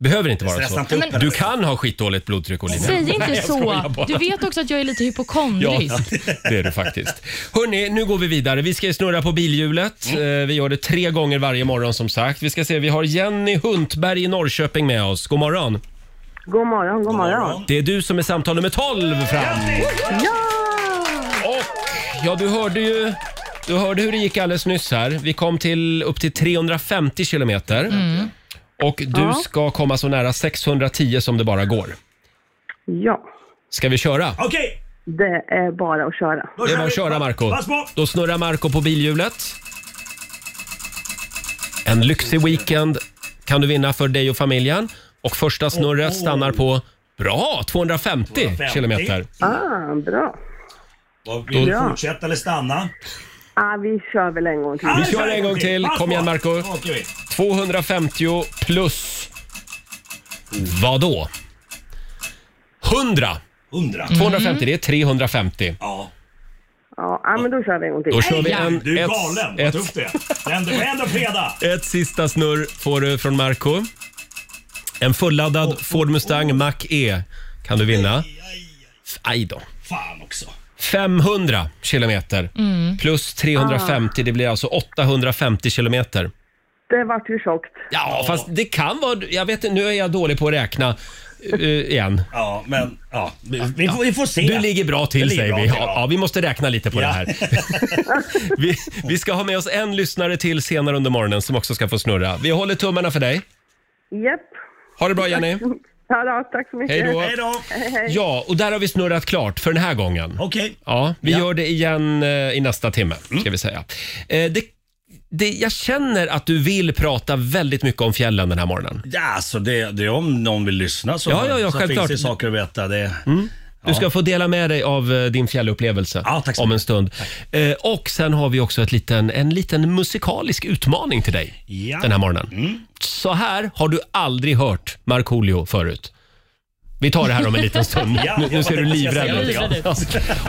S1: Behöver inte vara
S9: Stressa
S1: så.
S9: inte upp
S3: Men-
S9: henne.
S1: Du kan ha skitdåligt blodtryck, Olivia.
S3: Säg inte
S1: Nej, jag skojar
S3: så.
S1: bara.
S3: Du vet också att jag är lite
S1: Ja,
S3: hypokondrisk.
S1: det är du faktiskt. Hörni, nu går vi vidare. Vi ska ju snurra på bilhjulet.
S9: Mm.
S1: Eh, Vi gör det tre gånger varje morgon som sagt. Vi ska se, vi har Jenny Huntberg i Norrköping med oss. God morgon.
S5: God morgon, god morgon.
S1: Det är du som är samtal nummer 12 fram. Och ja, du hörde ju du hörde hur det gick alldeles nyss här. Vi kom till upp till 350 kilometer. Och du ska komma så nära 610 som det bara går.
S5: Ja,
S1: Ska vi köra?
S9: Okej!
S5: det är bara att köra.
S9: då
S1: Det är
S9: kör
S1: bara att
S9: vi.
S1: köra Marco.
S9: Pass på!
S1: Då snurrar Marco på bilhjulet. En lyxig weekend kan du vinna för dig och familjen. Och första
S9: Oh,
S1: snurret stannar på Bra! 250 kilometer.
S5: Ah, bra.
S9: Vad Vill du
S5: Då-
S9: fortsätta eller stanna?
S5: Ah, vi kör väl en gång till.
S9: Ah,
S1: Vi kör en gång till.
S9: Pass
S1: Kom igen
S9: på.
S1: Marco.
S9: Då åker vi.
S1: 250 plus... Vad då? 100!
S9: 100.
S1: Mm. 250, det är 350.
S9: Ja.
S5: Ja, ah, men då kör vi en gång till.
S1: Då kör vi
S3: ja.
S1: en...
S9: Du är
S1: ett-
S9: galen. Vad
S1: Ett,
S9: tufft det är. Det är ändå- det är ändå fredag.
S1: ett sista snurr får du från Marco. En fulladdad Ford Mustang Mach E kan du vinna. Aj då.
S9: Fan också.
S1: 500 kilometer plus 350, det blir alltså 850 kilometer.
S5: Det vart ju tjockt.
S1: Ja, fast det kan vara... Jag vet inte, nu är jag dålig på att räkna eh, igen.
S9: Ja, men ja. Vi, vi, får, vi får se.
S1: Du ligger bra
S9: Jag
S1: till
S9: ligger
S1: säger
S9: bra
S1: vi.
S9: till,
S1: Ja, ja, vi måste räkna lite på det
S9: Ja.
S1: här. vi, vi ska ha med oss en lyssnare till senare under morgonen som också ska få snurra. Vi håller tummarna för dig.
S5: Japp.
S1: Ha det bra Jenny.
S5: Ja, då, tack så mycket.
S1: Hej då.
S9: Hej då.
S1: Ja, och där har vi snurrat klart för den här gången.
S9: Okej.
S1: Ja, vi
S9: Ja.
S1: gör det igen eh, i nästa timme ska vi säga. Eh, det, det, jag känner att du vill prata väldigt mycket om fjällen den här morgonen.
S9: Ja, alltså det, det är om någon vill lyssna så,
S1: Ja, ja, ja,
S9: så
S1: självklart. Mm.
S9: finns det saker att veta. Det,
S1: Du ska få dela med dig av eh, din fjällupplevelse
S9: Ja, tack så
S1: om en
S9: mycket.
S1: stund. Eh, och sen har vi också ett liten, en liten musikalisk utmaning till dig
S9: Ja. Mm.
S1: den här morgonen. Så här har du aldrig hört Markoolio förut. Vi tar det här om en liten stund.
S9: Ja,
S1: nu, nu
S9: jag
S1: ser du
S9: tänkte säga
S1: livrädd ut.
S9: någonting, ja.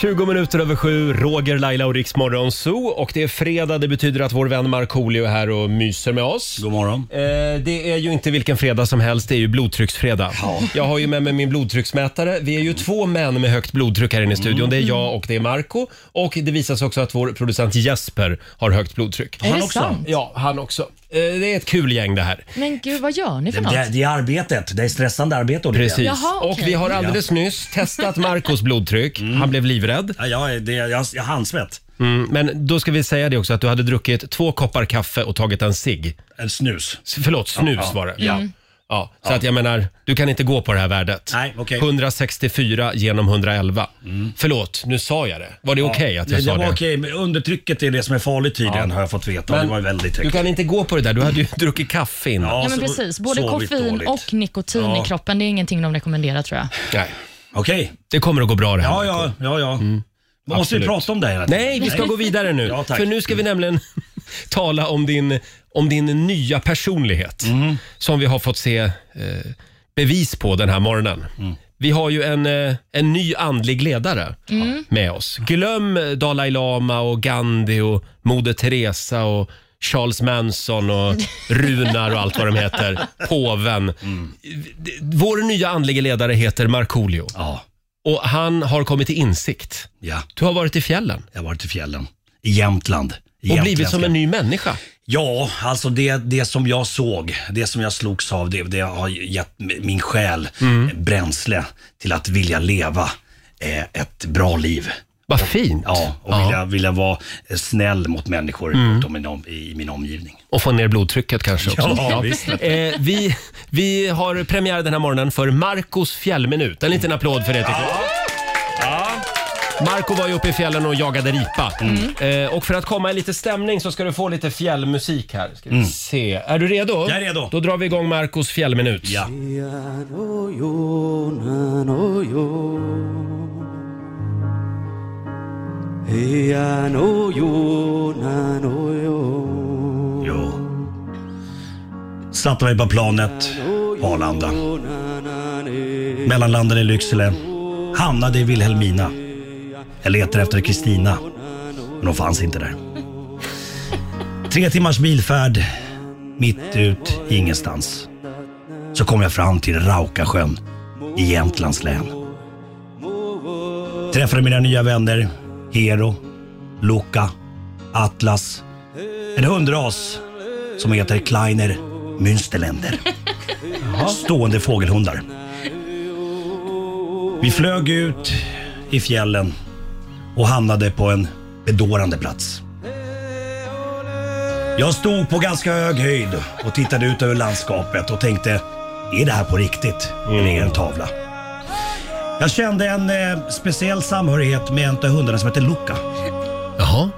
S1: 20 minuter över sju, Roger, Laila och Riksmorgon Zoo. Och det är fredag, det betyder att vår vän Markoolio är här och myser med oss.
S9: God morgon.
S1: Eh, det är ju inte vilken fredag som helst, det är ju blodtrycksfredag.
S9: Ja.
S1: Jag har ju med mig min blodtrycksmätare. Vi är ju två män med högt blodtryck här inne i studion. Det är jag och det är Marco Och det visar sig också att vår producent Jesper har högt blodtryck.
S3: Är
S9: Han
S3: det
S9: också.
S3: sant?
S1: Ja, han också. Eh, det är ett kul gäng det här.
S3: Men gud, vad gör ni
S9: Det,
S3: för något?
S9: det, det är arbetet. Det är stressande arbete. Olivia.
S1: Precis.
S3: Jaha, okej.
S1: Och vi har alldeles nyss testat Marcos blodtryck. Han blev livrädd.
S9: Ja, jag, är- det, jag, jag har handsvett.
S1: Mm, men då ska vi säga det också att du hade druckit två koppar kaffe och tagit en cigg.
S9: En snus.
S1: S- Förlåt, snus
S9: Ja, ja.
S1: var det. Ja. Ja, så att jag menar, du kan inte gå på det här värdet.
S9: Nej, okej. Mm.
S1: 164 genom 111. Förlåt, nu sa jag det. Var det okej att jag
S9: det,
S1: sa
S9: det
S1: det?
S9: var okej, men undertrycket är det som är farligt tydligen har jag fått veta.
S1: Men
S9: det var väldigt
S1: Du
S9: högt.
S1: kan inte gå på det där, du hade ju druckit kaffe innan.
S9: Ja,
S3: Ja, men
S9: så-
S3: precis. Både
S9: sovit
S3: koffein
S9: dåligt.
S3: och nikotin
S9: Ja.
S3: i kroppen, det är ingenting de rekommenderar tror jag.
S1: Nej,
S9: Okej.
S1: det kommer att gå bra det här.
S9: Ja,
S1: Marco.
S9: ja, ja. ja. Man måste
S1: Mm. Absolut.
S9: vi prata om det här
S1: Nej, vi ska gå vidare nu.
S9: Ja, tack.
S1: för nu ska vi nämligen tala om din, om din nya personlighet. Som vi har fått se eh, bevis på den här morgonen. Vi har ju en, eh, en ny andlig ledare
S3: Mm.
S1: med oss. Glöm Dalai Lama och Gandhi och Moder Teresa och Charles Manson och Runar och allt vad de heter. Påven. D- Vår nya andlige ledare heter Markoolio. Och han har kommit till insikt.
S9: Ja.
S1: Du har varit i fjällen.
S9: Jag har varit i fjällen. I Jämtland.
S1: Och blivit som en ny människa.
S9: Ja, alltså det, det som jag såg, det som jag slogs av, det, det har gett m- min själ eh,
S1: Mm.
S9: bränsle till att vilja leva eh, ett bra liv.
S1: Vad fint!
S9: Ja, och Vilja, vilja vara eh, snäll mot människor
S1: Mm.
S9: runt om i, nom- i min omgivning.
S1: Och få ner blodtrycket kanske också.
S9: Ja, visst.
S1: Eh, vi, vi har premiär den här morgonen för Marcos fjällminut. En liten applåd för det tycker jag. Marco var ju uppe i fjällen och jagade ripa. Eh, och för att komma i lite stämning så ska du få lite fjällmusik här. Ska vi
S2: Mm.
S1: se. Är du redo? Jag är redo. Då drar vi igång Marcos fjällminut. Ja.
S9: Satte mig på planet på Arlanda. Mellanlandade i Lycksele. Hamnade i Vilhelmina. Jag letar efter Kristina, men hon fanns inte där. Tre timmars bilfärd, mitt ut i ingenstans. Så kom jag fram till Raukasjön i Jämtlands län. Träffade mina nya vänner Hero, Luca, Atlas. En hundras som heter Kleiner Münsterländer. Stående fågelhundar. Vi flög ut i fjällen och hamnade på en bedårande plats. Jag stod på ganska hög höjd och tittade ut över landskapet och tänkte, är det här på riktigt? Eller är det en tavla? Jag kände en eh, speciell samhörighet med en av hundarna som heter Luca.
S1: Jaha.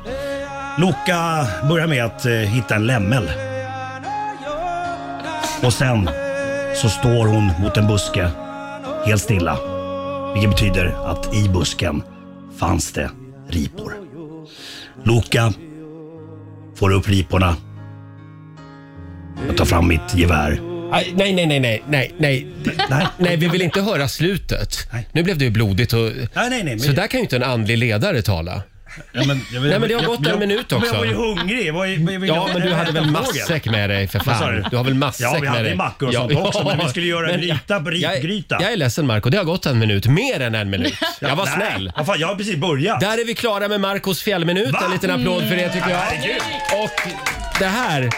S9: Luca börjar med att eh, hitta en lämmel. Och sen så står hon mot en buske helt stilla. Vilket betyder att i busken fanns det ripor. Luca får upp riporna. Jag tar fram mitt gevär.
S1: Aj, Nej, nej, nej, nej, nej, nej.
S9: Nej.
S1: vi vill inte höra slutet. Nu blev det ju blodigt och...
S9: Nej, nej, nej. men-
S1: Så där kan ju inte en andlig ledare tala.
S9: Ja, men, jag vill-
S1: Nej, men det har
S9: jag-
S1: gått en
S9: jag-
S1: minut
S9: men
S1: också.
S9: Jag var ju hungrig. Jag var ju, jag vill-
S1: Ja, men du hade väl matsäck med dig för
S9: Vad sa
S1: fan?
S9: du?
S1: Du har väl matsäck
S9: Ja,
S1: med
S9: vi
S1: dig?
S9: hade mackor och sånt också, men vi skulle göra gryta på
S1: jag-
S9: ripgryta.
S1: Jag är ledsen Marco, det har gått en minut. Mer än en minut. Jag var
S9: nej.
S1: snäll.
S9: Ja, fan, jag har precis börjat.
S1: Där är vi klara med Marcos fjällminut. En liten applåd för det tycker jag.
S9: Herregud.
S1: Och det här.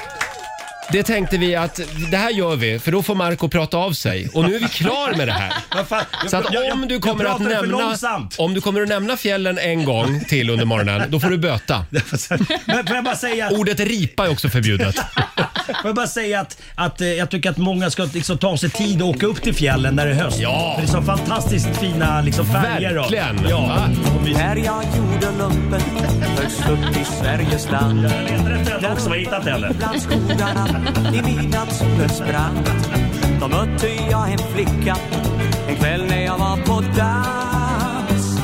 S1: Det tänkte vi att det här gör vi för då får Marco prata av sig. Och nu är vi klar med det här.
S9: Vad fan, jag-
S1: Så att
S9: jag- jag-
S1: om du
S9: jag
S1: kommer att
S9: pratade för
S1: nämna,
S9: långsamt.
S1: om du kommer att nämna fjällen en gång till under morgonen, då får du böta.
S9: Men får jag bara säga,
S1: Ordet ripa är också förbjudet.
S9: får jag, bara säga att, att eh, jag tycker att många ska liksom ta sig tid och åka upp till fjällen när det är höst.
S1: Ja.
S9: För det är så fantastiskt fina liksom, färger. och-
S1: Verkligen.
S9: Ja.
S1: Va?
S12: När jag gjorde lumpen högst upp i Sveriges land
S9: Jag letar efter den också, har jag hittat heller.
S1: Eh,
S12: Bland skogarna i midnattssolens brand Då mötte jag en flicka en kväll när jag var på dans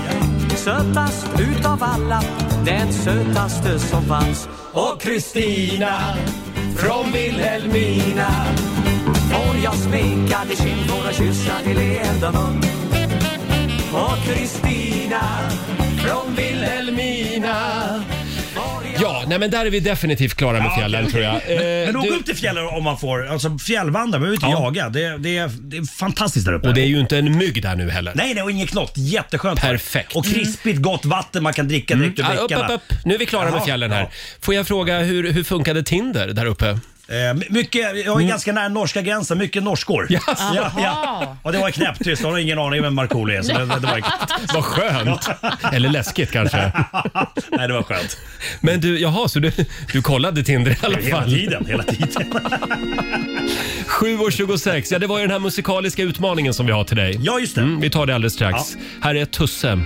S12: Sötast utav alla, den sötaste som fanns Och Kristina från Vilhelmina Och jag smekade kindvår och kyssa till leende mun Och Kristina från Vilhelmina
S1: Ja, nej men där är vi definitivt klara med
S9: Ja,
S1: fjällen
S9: okej.
S1: tror jag.
S9: Men,
S1: Eh,
S9: men åk
S1: du-
S9: upp till fjällen om man får. Alltså fjällvandra, behöver inte jaga. Det, det, är, det är fantastiskt där uppe.
S1: och det är ju inte en mygg där nu heller.
S9: Nej, nej, och inget knott. Jätteskönt.
S1: Perfekt. Mm.
S9: Och krispigt gott vatten man kan dricka direkt
S1: Ja,
S9: ur
S1: Ah, upp,
S9: bäckarna.
S1: upp, upp. Nu är vi klara med
S9: Jaha,
S1: fjällen
S9: ja.
S1: här. Får jag fråga, hur, hur funkade Tinder där uppe?
S9: Eh, my- mycket,
S1: Mm.
S9: jag är ganska nära norska gränsen, mycket norskor. Ja, ja. Och det var knäpptyst, de har ingen aning vem Markoolio är. Så det, det var...
S1: Vad skönt! Eller läskigt kanske.
S9: Nej, det var skönt.
S1: Men du, jaha, så du, du kollade Tinder i alla
S9: Hela
S1: fall?
S9: tiden, hela tiden.
S1: 7.26, ja det var ju den här musikaliska utmaningen som vi har till dig.
S9: Ja, just det.
S1: Mm, vi tar det alldeles strax. Här är Tusse.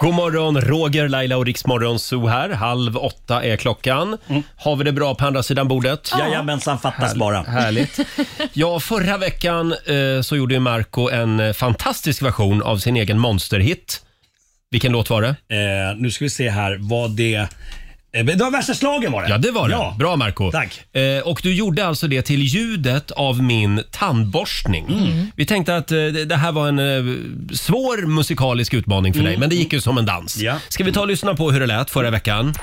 S1: God morgon, Roger, Laila och Riksmorgon Zoo här. Halv åtta är klockan. Har vi det bra på andra sidan bordet?
S9: Jajamensan, fattas bara.
S1: Härligt. Ja, förra veckan eh, så gjorde ju Marco en eh, fantastisk version av sin egen monsterhit. Vilken låt var det?
S9: Eh, nu ska vi se här, vad det... Eh, Det var värsta slagen var det.
S1: Ja, det var det.
S9: Ja.
S1: Bra Marco
S9: Tack.
S1: Eh, och du gjorde alltså det till ljudet av min tandborstning.
S9: Mm.
S1: Vi tänkte att eh, det det här var en eh, svår musikalisk utmaning för dig,
S9: Mm.
S1: men det gick ju som en dans. Ska vi ta och lyssna på hur det lät förra veckan?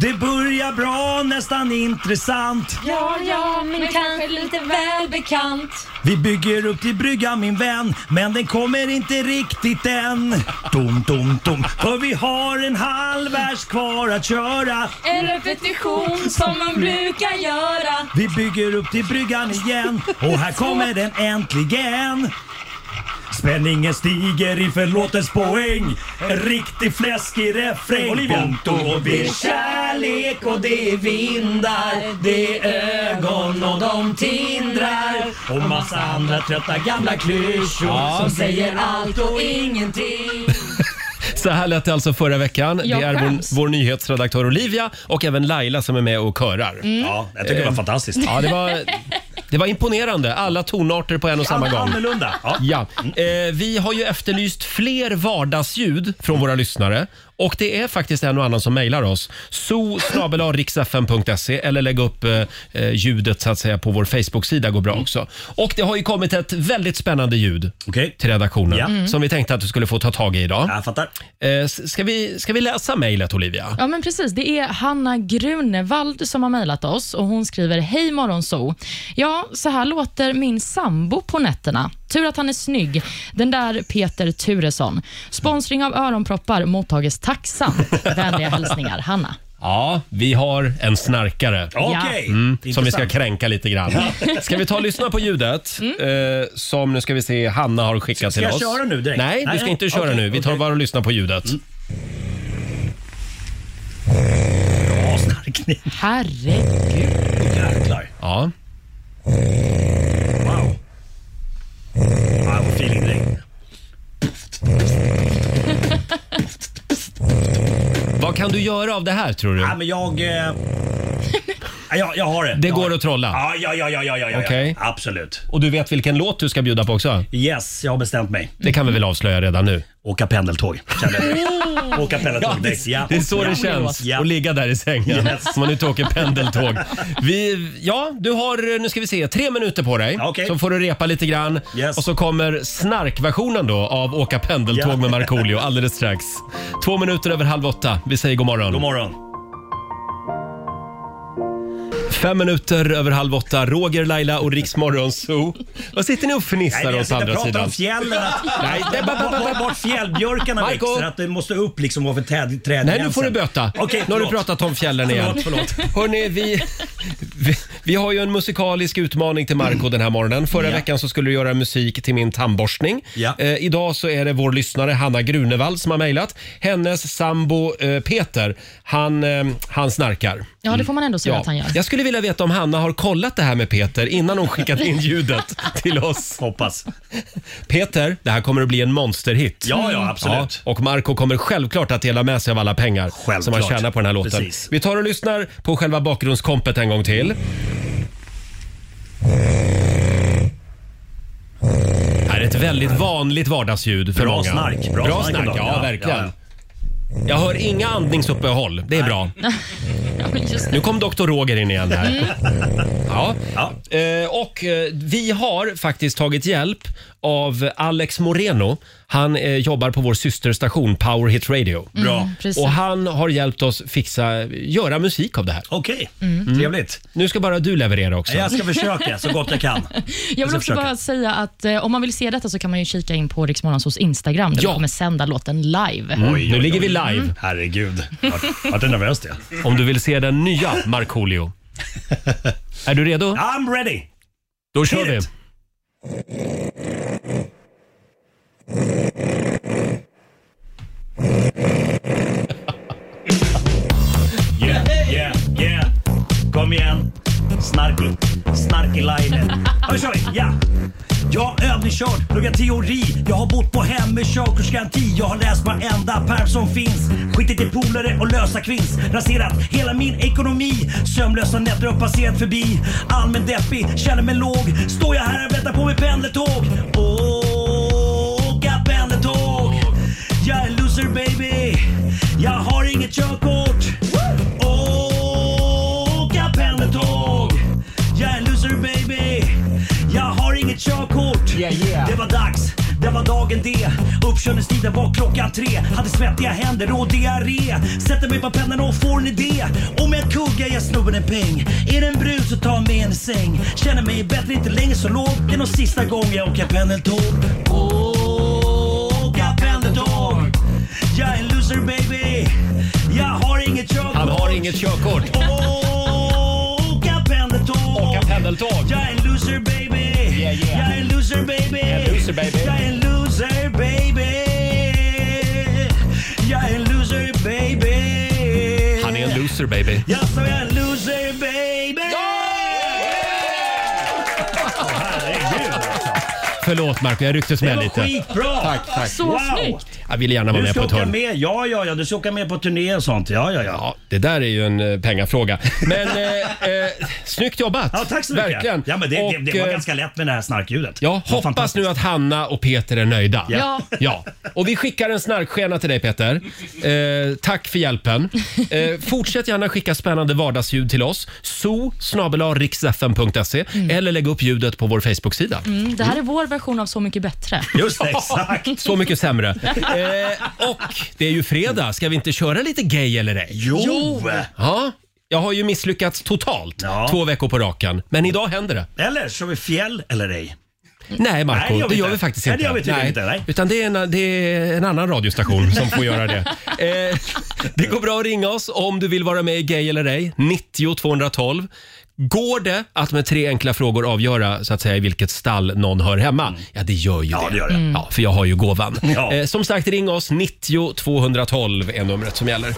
S9: Det börjar bra, nästan intressant.
S7: Ja, ja, men kanske lite väl bekant.
S9: Vi bygger upp till brygga min vän, men den kommer inte riktigt än. Tom, tom, tom. För vi har en halv vers kvar att köra.
S7: En repetition som man brukar göra.
S9: Vi bygger upp till bryggan igen och här kommer den äntligen. Spänningen stiger inför låtens poäng. En riktig fläskig refräng. Olivia. Och
S2: det
S9: vi
S2: är kärlek och det är vindar, det är ögon och de tindrar.
S9: Och massa andra trötta gamla klyschor
S1: Ja.
S9: som
S7: Säger
S9: säger
S7: allt och ingenting.
S1: Så här lät det alltså förra veckan.
S7: Jag
S1: det är vår,
S7: skäms.
S1: vår nyhetsredaktör Olivia och även Laila som är med och körar.
S7: Mm. Ja,
S9: jag tycker det var
S1: Eh,
S9: fantastiskt.
S1: Ja, det, var, det var imponerande. Alla tonarter på en och samma
S9: An-
S1: gång.
S9: annorlunda, Ja.
S1: Eh, vi har ju efterlyst fler vardagsljud från våra lyssnare. Och det är faktiskt en och annan som mejlar oss. so eller lägg upp eh, eh, ljudet så att säga på vår Facebook-sida går bra
S3: Mm.
S1: också. Och det har ju kommit ett väldigt spännande ljud till redaktionen
S3: Ja. Mm.
S1: som vi tänkte att du skulle få ta tag i idag.
S9: Jag fattar.
S1: Eh, s- ska, vi, ska vi läsa mejlet Olivia?
S3: Ja, men precis. Det är Hanna Grunewald som har mejlat oss och hon skriver Hej morgonso. Ja, så här låter min sambo på nätterna. Tur att han är snygg. Den där Peter Turesson. Sponsring av öronproppar mottages tacksamt. Vänliga hälsningar Hanna.
S1: Ja, vi har en snarkare.
S3: Okej.
S1: Mm, som vi ska
S3: Intressant.
S1: kränka lite grann. Ska vi ta och lyssna på ljudet eh, som nu ska vi se Hanna har skickat
S9: Mm. Ska
S1: till
S9: jag
S1: oss.
S9: köra nu direkt?
S1: Nej, du
S9: Nej,
S1: ska inte köra
S9: okej, Mm.
S1: nu. Vi tar bara och lyssnar på ljudet.
S9: Bra snarkning.
S3: Herregud.
S9: Jäklar.
S1: Ja.
S9: Wow.
S1: Eh.
S9: Ah, Wow, feeling direkt.
S1: Vad kan du göra av det här tror du?
S9: Ja, men jag... Eh... ja, Jag, jag har det.
S1: Det
S9: Jag har
S1: går att trolla?
S9: Ja, ja, ja, ja, ja, ja, ja.
S1: Okej.
S9: Absolut.
S1: Och du vet vilken låt du ska bjuda på också?
S9: Yes, jag har bestämt mig.
S1: Det kan vi väl avslöja redan nu?
S9: Åka pendeltåg. känner jag direkt. Åka
S1: Ja,
S9: pendeltåg direkt.
S1: det,
S9: Ja.
S1: det är så
S9: Ja.
S1: det känns
S9: Ja.
S1: att ligga där i sängen
S9: Yes.
S1: om man inte åker pendeltåg. Vi, ja, du har, nu ska vi se, tre minuter på dig. Så får du repa lite grann. Och så kommer snarkversionen då av Åka pendeltåg
S9: Ja.
S1: med Markoolio alldeles strax. Två minuter över halv åtta. Vi säger god morgon.
S9: God morgon.
S1: Fem minuter över halv åtta. Roger, Laila och Riks Morgonzoo. Vad sitter ni och
S9: Nej,
S1: fnissar
S9: men jag
S1: åt
S9: sitter
S1: andra
S9: och pratar
S1: sidan?
S9: om fjällen. Att,
S1: Nej, det är bara-
S9: bort, bort, bort fjällbjörkarna
S1: Marco.
S9: växer. Att det måste upp liksom ovanför träd, trädgränsen.
S1: Nej, nu får du böta.
S9: Okej,
S1: nu har du
S9: förlåt.
S1: pratat om fjällen igen.
S9: Förlåt, förlåt.
S1: Hörrni, vi, vi, vi har ju en musikalisk utmaning till Marco den här morgonen. Förra
S9: Ja.
S1: veckan så skulle du göra musik till min tandborstning. Eh, idag så är det vår lyssnare Hanna Grunewald som har mejlat. Hennes sambo eh, Peter, han, eh, han snarkar. Mm.
S3: Ja, det får man ändå säga
S1: Ja.
S3: att han gör.
S1: Jag skulle vilja veta om Hanna har kollat det här med Peter innan hon skickat in ljudet till oss.
S9: Hoppas.
S1: Peter, det här kommer att bli en monsterhit.
S9: Ja, ja, absolut.
S1: och Marco kommer självklart att dela med sig av alla pengar som han
S9: Självklart.
S1: tjänar på den här låten.
S9: Precis.
S1: Vi tar och lyssnar på själva bakgrundskompet en gång till. Det här är ett väldigt vanligt vardagsljud för
S9: Bra
S1: många.
S9: snark,
S1: Bra,
S9: bra snark
S1: snark,
S9: idag.
S1: ja,
S9: Ja,
S1: verkligen.
S9: ja,
S1: Jag hör inga andningsuppehåll. Det är bra. Nu kom doktor Roger in igen här.
S9: Mm.
S1: Ja. Eh, och eh, vi har faktiskt tagit hjälp av Alex Moreno. Han eh, jobbar på vår systerstation Power Hit Radio.
S9: Bra. Mm, precis.
S1: och han har hjälpt oss fixa, göra musik av det här.
S9: Okej,
S1: Mm.
S9: trevligt.
S1: Nu ska bara du leverera också.
S9: Jag ska försöka så gott jag kan.
S3: Jag vill
S1: ska
S3: också
S1: försöka.
S3: bara säga att eh, om man vill se detta så kan man ju kika in på Riksmorgonsos Instagram där
S1: Ja.
S3: vi kommer sända låten live.
S1: Mm, nu ligger vi live.
S3: Mm.
S9: Herregud. Vart- Vart är nervös det?
S1: Om du vill se den nya Markoolio. är du redo?
S9: I'm ready.
S1: Då kör vi.
S9: Yeah, yeah, yeah. Kom igen. Snarky, snarky linen. Nu kör vi. Ja. Jag har övningskört, pluggat teori. Jag har bott på hem med körkortsgaranti. Jag har läst varenda pärm som finns. Skitit i polare och lösa kvinns. Raserat hela min ekonomi. Sömnlösa nätter har passerat förbi. Allmän deppig, känner mig låg. Står jag här och väntar på mitt pendeltåg. Åka pendeltåg. Jag är loser baby. Jag har inget körkort. dagen D. Uppkörningstiden var klockan tre. Hade svettiga händer och diarré. Sätter mig på pennan och får en idé. Om jag kuggar ger snubben en peng. Är det en brud så ta med en i säng. Känner mig bättre inte längre så låg. Det är nog sista gången jag åker pendeltåg. Åka pendeltåg. Jag är en loser baby. Jag har inget körkort.
S1: Han har inget körkort.
S9: Åka pendeltåg. Åka pendeltåg. Jag är en loser baby. Jag är en loser baby. Jag är en loser baby. Jag är en loser baby.
S1: Han är en loser baby.
S9: Jag sa jag är en loser baby.
S1: Förlåt Marco, jag rycktes med
S9: Det var
S1: lite.
S9: skitbra!
S1: Tack, tack.
S9: Så Wow! snyggt!
S1: Jag ville gärna vara
S9: Du
S1: med
S9: ska
S1: på ett
S9: åka
S1: hörn.
S9: med, ja ja ja, du ska åka med på turné och sånt. Ja ja ja.
S1: Det där är ju en eh, pengafråga. Men eh, eh, snyggt jobbat!
S9: Ja, tack så mycket.
S1: Verkligen.
S9: Ja, men det- det- det var
S1: eh,
S9: ganska lätt med det här snarkljudet.
S1: Ja, hoppas nu att Hanna och Peter är nöjda.
S9: Ja.
S1: ja. Och vi skickar en snarkskena till dig Peter. Eh, tack för hjälpen. Eh, fortsätt gärna skicka spännande vardagsljud till oss. so eller lägg upp ljudet på vår Facebook-sida.
S3: Mm, det här är vår version av Så mycket bättre.
S1: Just det, exakt. Så mycket sämre. Eh, och det är ju fredag. Ska vi inte köra lite gay eller ej?
S9: Jo.
S1: Ja, jag har ju misslyckats totalt två veckor på raken. Men idag händer det.
S9: Eller kör vi fjäll eller ej?
S1: Nej, Marco,
S9: Mm. Nej, det gör vi
S1: det gör
S9: inte.
S1: vi faktiskt
S9: Nej,
S1: inte.
S9: det gör vi tydligen inte, nej.
S1: Utan det är, en, det är en annan radiostation som får göra det. Eh, det går bra att ringa oss om du vill vara med i Gay eller ej. 90 212. Går det att med tre enkla frågor avgöra så att säga i vilket stall någon hör hemma? Ja, det gör ju det.
S9: Mm. det gör det. Mm.
S1: Ja, för jag har ju gåvan.
S9: Ja.
S1: Eh, som sagt, ring oss. 90 212 är numret som gäller.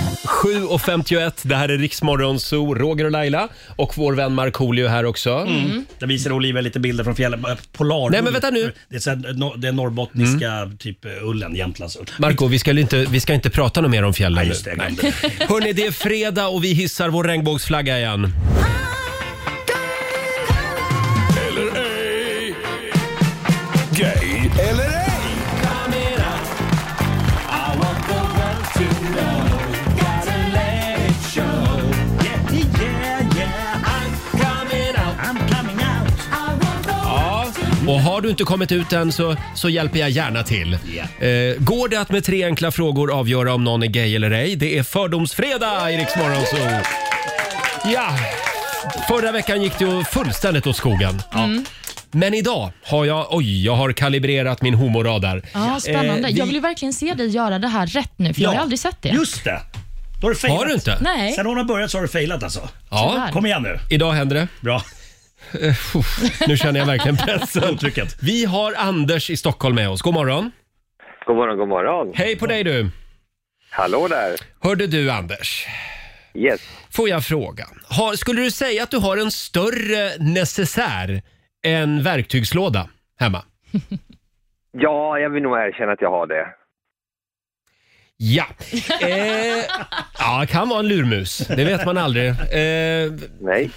S1: 7.51, det här är Riksmorgon Zoo, Roger och Laila och vår vän Markoolio här också.
S9: Mm. Där visar Olivia lite bilder från fjällen. Eh, Polar.
S1: Nej, men vänta nu. Mm.
S9: Det är, så här, no- det är norrbottniska typ eh, ullen, Jämtlandsull.
S1: Marco, vi ska, inte, vi ska inte prata något mer om fjällen
S9: Nej, just det,
S1: nu.
S9: jag
S1: Nej.
S9: glömde
S1: Hörni, det är fredag och vi hissar vår regnbågsflagga igen.
S13: Gay eller ej?
S1: Ja. Och har du inte kommit ut än så, så hjälper jag gärna till. Eh, går det att med tre enkla frågor avgöra om någon är gay eller ej? Det är fördomsfredag i Riksmorgon Zoo. Ja, förra veckan gick det ju fullständigt åt skogen. Men idag har jag, oj, jag har kalibrerat min homoradar.
S3: Ja, spännande.
S1: Eh, vi-
S3: Jag vill ju verkligen se dig göra det här rätt nu, för jag har
S1: Ja,
S3: aldrig sett det.
S9: Just det. Då har du failat.
S1: Har du inte?
S3: Nej.
S9: Sen hon har börjat så har du failat alltså.
S1: Ja.
S9: Tyvärr. Kom igen nu.
S1: Idag händer det.
S9: Bra.
S1: Nu känner jag verkligen pressen.
S9: Otrycket.
S1: Vi har Anders i Stockholm med oss. God morgon.
S10: God morgon, god morgon.
S1: Hej på dig du.
S10: Hallå där.
S1: Hörde du Anders?
S10: Yes.
S1: Får jag fråga? Har, skulle du säga att du har en större necessär än verktygslåda hemma?
S10: Ja, jag vill nog erkänna att jag har det.
S1: Ja. Eh, ja, kan vara en lurmus. Det vet man aldrig. Eh,
S10: Nej.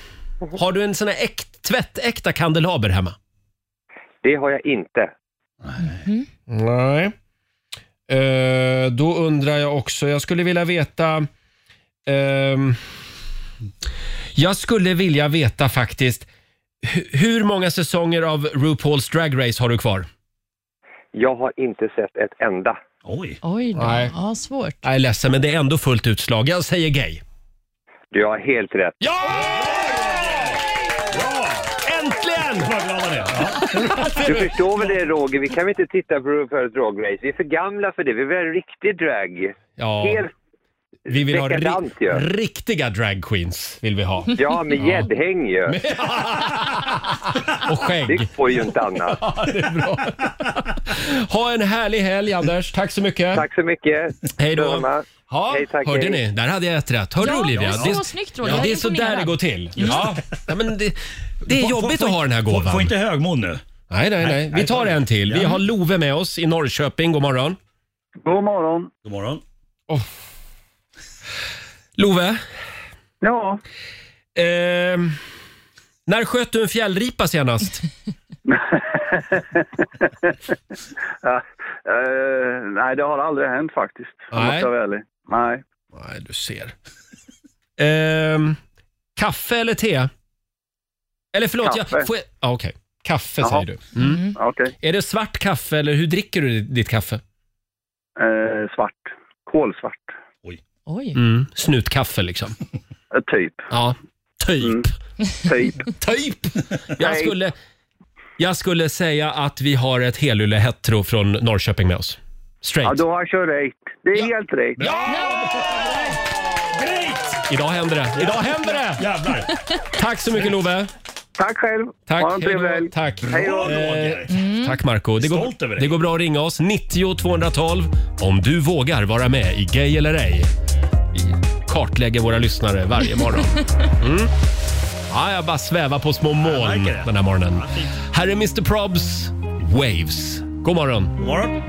S1: Har du en sån här äkt, tvättäkta kandelaber hemma?
S10: Det har jag inte.
S1: Nej. Eh, då undrar jag också, jag skulle vilja veta... ehm, jag skulle vilja veta faktiskt, hu- hur många säsonger av RuPaul's Drag Race har du kvar?
S10: Jag har inte sett ett enda.
S9: Oj.
S3: Oj då.
S1: Nej.
S3: Ja, svårt.
S1: Jag är ledsen, men det är ändå fullt utslag. Jag säger gay.
S10: Du har helt rätt.
S1: Äntligen!
S9: Vad glad han är. Ja.
S10: Du förstår väl det Roger, vi kan väl inte titta på RuPaul's Drag Race. Vi är för gamla för det. Vi vill ha riktig drag.
S1: Ja.
S10: Helt,
S1: Vi vill ha
S10: Dekadant ju.
S1: ri- riktiga drag queens vill vi ha.
S10: ja, med gäddhäng ju.
S1: Och skägg.
S10: Det går ju inte annat.
S1: Ja, det är bra. Ha en härlig helg, Anders. Tack så mycket.
S10: Tack så mycket.
S1: Hej då.
S10: Detsamma.
S1: Ja,
S10: Hej, tack,
S1: hörde
S10: hej.
S1: ni? Där hade jag ett rätt. Hörde
S3: Ja,
S1: du Olivia?
S3: det är så snyggt, Roger.
S1: ja,
S3: Jag
S1: det
S3: är
S1: är så där
S3: imponerad.
S1: det går till. Ja. Ja, men det, det är
S9: Få- få-
S1: jobbigt
S9: få
S1: att
S9: in-
S1: ha den här
S9: få-
S1: gåvan.
S9: Få inte högmod nu.
S1: Nej, nej, nej. Vi tar en till. Vi har Love med oss i Norrköping. God morgon.
S12: God morgon.
S9: God morgon.
S1: Love,
S12: Ja,
S1: ehm, när sköt du en fjällripa senast?
S12: eh, nej det har aldrig hänt faktiskt.
S1: Nej.
S12: Nej. Måste jag vara ärlig. Nej.
S1: Nej, du ser. Ehm, kaffe eller te? Eller förlåt,
S14: Kaffe.
S1: jag... Får jag ja, okej. Kaffe
S14: Jaha.
S1: säger du. Mm.
S14: Okej.
S1: Är det svart kaffe eller hur dricker du ditt kaffe?
S14: Eh, svart. Kolsvart.
S3: Oj.
S1: Mm. Snutkaffe liksom?
S14: typ.
S1: Ja, typ.
S14: Typ.
S1: typ! Jag skulle, jag skulle säga att vi har ett helyllehetero från Norrköping med oss.
S14: Ja,
S1: Straight.
S14: då har jag kört rätt. Det är helt rätt.
S1: Idag händer det. Idag händer det!
S9: Jävlar.
S1: Tack så mycket Love.
S14: Tack själv.
S1: Tack.
S14: Ha en trevlig
S1: Hej då.
S14: helg.
S1: Tack.
S14: Hej då.
S1: Eh, Tack Marco. Det går,
S14: Mm. Stolt över dig.
S1: det går bra att ringa oss. 90 212 om du vågar vara med i Gay eller ej. Vi kartlägger våra lyssnare varje morgon. Mm. Ja, jag bara svävar på små moln den här morgonen. Här är Mr Probs Waves. God morgon.
S9: God morgon.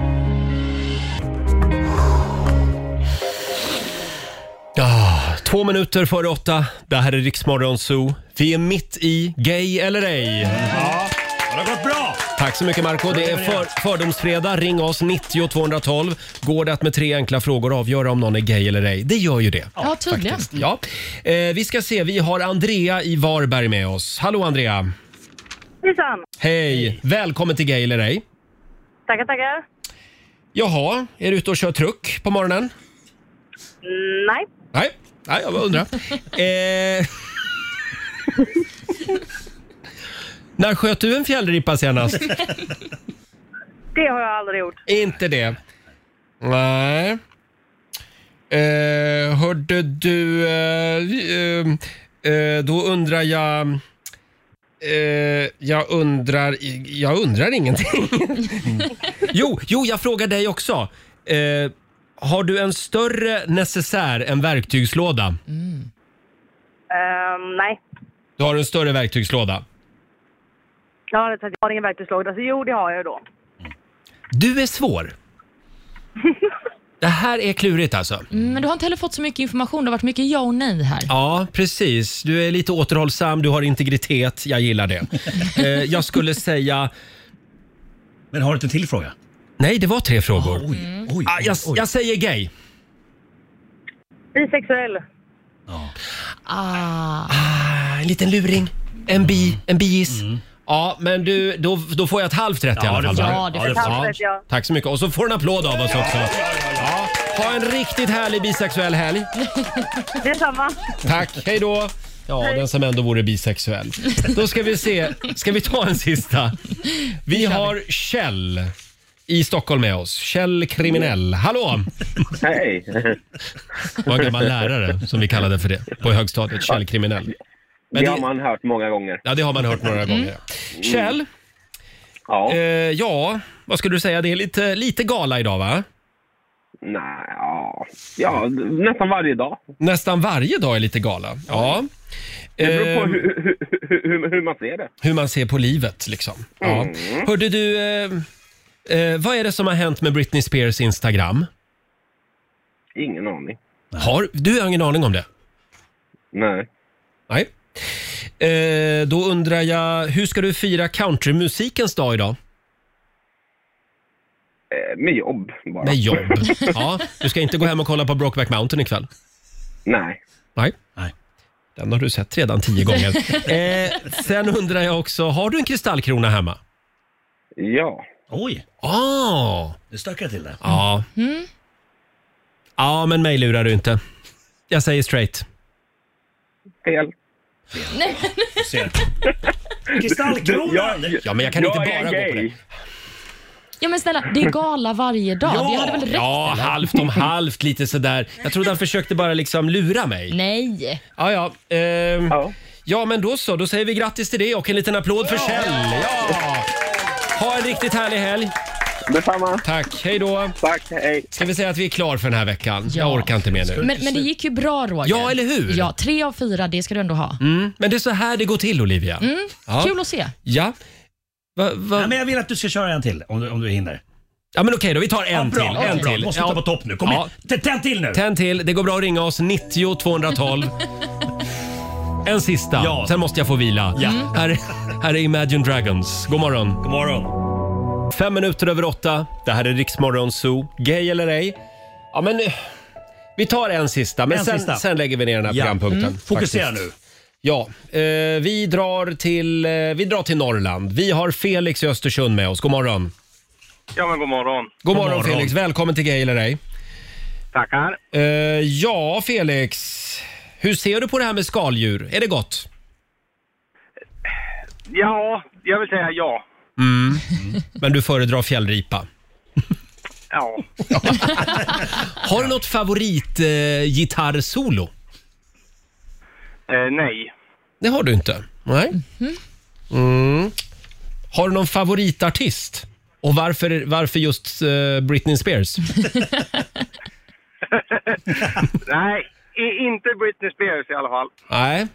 S1: Ja, två minuter före åtta. Det här är Riksmorgon Zoo. Vi är mitt i Gay eller ej.
S9: Det har gått bra!
S1: Tack så mycket Marco. Det är för, Fördomsfredag. Ring oss 90 212. Går det att med tre enkla frågor avgöra om någon är gay eller ej? Det gör ju det.
S3: Ja, tydligen.
S1: faktiskt. Ja. Eh, vi ska se, vi har Andrea i Varberg med oss. Hallå Andrea!
S11: Hejsan!
S1: Hej! Välkommen till Gay eller ej.
S11: Tackar, tackar.
S1: Jaha, är du ute och kör truck på morgonen?
S11: Mm, Nej.
S1: Nej, Nej jag bara undrar. eh... När sköt du en fjällripa senast?
S11: Det har jag aldrig gjort.
S1: Inte det. Nej. Eh, hörde du... Eh, eh, eh, då undrar jag... Eh, jag undrar... Jag undrar ingenting. jo, jo, jag frågar dig också. Eh, har du en större necessär än verktygslåda?
S11: Ehm, nej.
S1: Du har en större verktygslåda.
S11: Jag har, inte, jag har ingen verktygslåda, så jo, det har jag då.
S1: Du är svår. Det här är klurigt alltså.
S3: Mm, Men du har inte heller fått så mycket information. Det har varit mycket ja och nej här.
S1: Ja, precis. Du är lite återhållsam, du har integritet. Jag gillar det. eh, jag skulle säga...
S9: Men har du inte en till fråga?
S1: Nej, det var tre frågor.
S3: Mm.
S1: ah, jag, jag säger gay.
S11: Bisexuell.
S3: Ah.
S1: Ah, en liten luring. En bi, en biis. Ja, men du, då, då Mm. får jag ett halvt rätt i
S9: Ja,
S1: alla fall.
S9: det får
S1: va?
S9: du. Ja, det får du. Halvt rätt, ja.
S1: Tack så mycket. Och så får du en applåd av oss också. Ja, ha en riktigt härlig bisexuell helg.
S11: Detsamma.
S1: Tack, hej då! Ja, den som ändå vore bisexuell. Då ska vi se, ska vi ta en sista? Vi har Kjell i Stockholm med oss. Kjell Kriminell. Hallå!
S15: Hej!
S1: Det var en gammal lärare som vi kallade för det på högstadiet. Kjell Kriminell. Men
S15: det har
S1: det-
S15: man hört många gånger.
S1: Ja, det har man hört några gånger. Kjell?
S15: Ja.
S1: Eh. ja, vad skulle du säga? Det är lite, lite gala idag va?
S15: Nej, ja. ja, nästan varje dag.
S1: Nästan varje dag är lite gala. Ja.
S15: Det beror på
S1: Ehm.
S15: hur, hur, hur, hur, hur man ser det.
S1: hur man ser på livet. Liksom. Ja.
S15: Mm.
S1: Hörde du, eh, eh, vad är det som har hänt med Britney Spears Instagram?
S15: Ingen aning.
S1: Har, du har ingen aning om det?
S15: Nej.
S1: Nej. Eh, då undrar jag, hur ska du fira countrymusikens dag idag?
S15: Eh, Med jobb bara.
S1: Med jobb. Ja, du ska inte gå hem och kolla på Brokeback Mountain ikväll?
S15: Nej.
S1: Nej. Nej. Den har du sett redan tio gånger. Eh, sen undrar jag också, har du en kristallkrona hemma?
S15: Ja.
S9: Oj!
S1: Ah.
S9: Nu stökar jag till det.
S1: Ja.
S9: Mm.
S1: ja, men mig lurar du inte. Jag säger straight.
S15: Fel.
S7: Nej.
S9: Kristallkronan!
S1: Ja, men jag kan
S9: Jag
S1: inte
S9: är
S1: bara gå på
S9: gay.
S1: det.
S3: Ja, men snälla, det är gala varje dag.
S1: Ja!
S3: Vi hade väl rätt?
S1: Ja,
S3: eller?
S1: halvt om halvt lite sådär. Jag trodde han försökte bara liksom lura mig.
S3: Nej.
S1: Ja, ja. ehm, ja, men då så. Då säger vi grattis till det och en liten applåd för Kjell. Ja! Ha en riktigt härlig helg.
S15: Detsamma.
S1: Tack. Hej då.
S15: Tack. Hej.
S1: Ska vi säga att vi är klar för den här veckan? Jag orkar inte mer nu.
S3: Men, men det gick ju bra Roger.
S1: Ja, eller hur?
S3: Ja, tre av fyra, det ska du ändå ha.
S1: Mm, men det är så här det går till, Olivia.
S3: Mm,
S1: Ja.
S3: Kul att se.
S1: Ja. Va, va?
S9: Nej, men jag vill att du ska köra en till om du, om du hinner.
S1: Ja men okej då, vi tar en
S9: Ja, bra,
S1: till.
S9: okej,
S1: en
S9: bra.
S1: till.
S9: Måste ta på topp nu. Kom igen. Tänd till nu.
S1: Tänd till. Det går bra att ringa oss, 90 212. en sista, sen måste jag få vila. Mm.
S9: Ja.
S1: Här, här är Imagine Dragons. God morgon.
S9: God morgon.
S1: Fem minuter över åtta. Det här är Riksmorgon Zoo. Gay eller ej? Ja men eh, vi tar en sista, men
S9: En
S1: sen,
S9: sista.
S1: sen lägger vi ner den här
S9: Ja.
S1: programpunkten.
S9: Mm. Fokusera
S1: faktiskt.
S9: nu.
S1: Ja, eh, vi, drar till, eh, vi drar till Norrland. Vi har Felix i Östersund med oss. God morgon.
S16: Ja, men god morgon.
S1: God morgon, Felix. Välkommen till Gayle dig.
S16: Tackar.
S1: Eh, ja, Felix. Hur ser du på det här med skaldjur? Är det gott?
S16: Ja, jag vill säga ja.
S1: Mm. Men du föredrar fjällripa.
S16: Ja.
S1: Har du något eh, favoritgitarrsolo?
S16: Eh, nej.
S1: det har du inte. Nej. Mm. Har du någon favoritartist? Och varför, varför just eh, Britney Spears?
S16: Nej, i- inte Britney Spears i alla fall.
S1: Nej.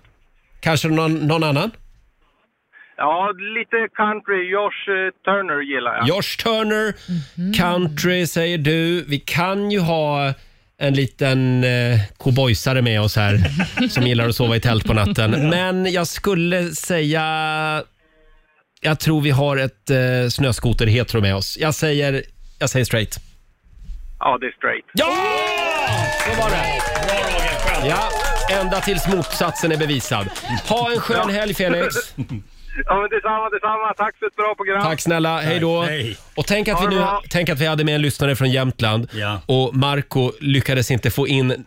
S1: Kanske någon, någon annan?
S16: Ja, lite country. Josh eh, Turner gillar jag.
S1: Josh Turner, Mhm. country säger du. Vi kan ju ha en liten eh, cowboysare med oss här som gillar att sova i tält på natten. Men jag skulle säga... Jag tror vi har ett eh, snöskoter-hetero med oss. Jag säger, jag säger straight.
S16: Ja, det är straight.
S1: Ja! Så var det. Ja, ända tills motsatsen är bevisad. Ha en skön helg, Felix.
S16: Ja, men detsamma, detsamma. Tack för ett bra program.
S1: Tack snälla, hej då.
S16: Tack, hej.
S1: Och tänk
S16: Ha
S1: att, vi
S16: det
S1: nu,
S16: bra.
S1: tänk att vi hade med en lyssnare från Jämtland och Marco lyckades inte få in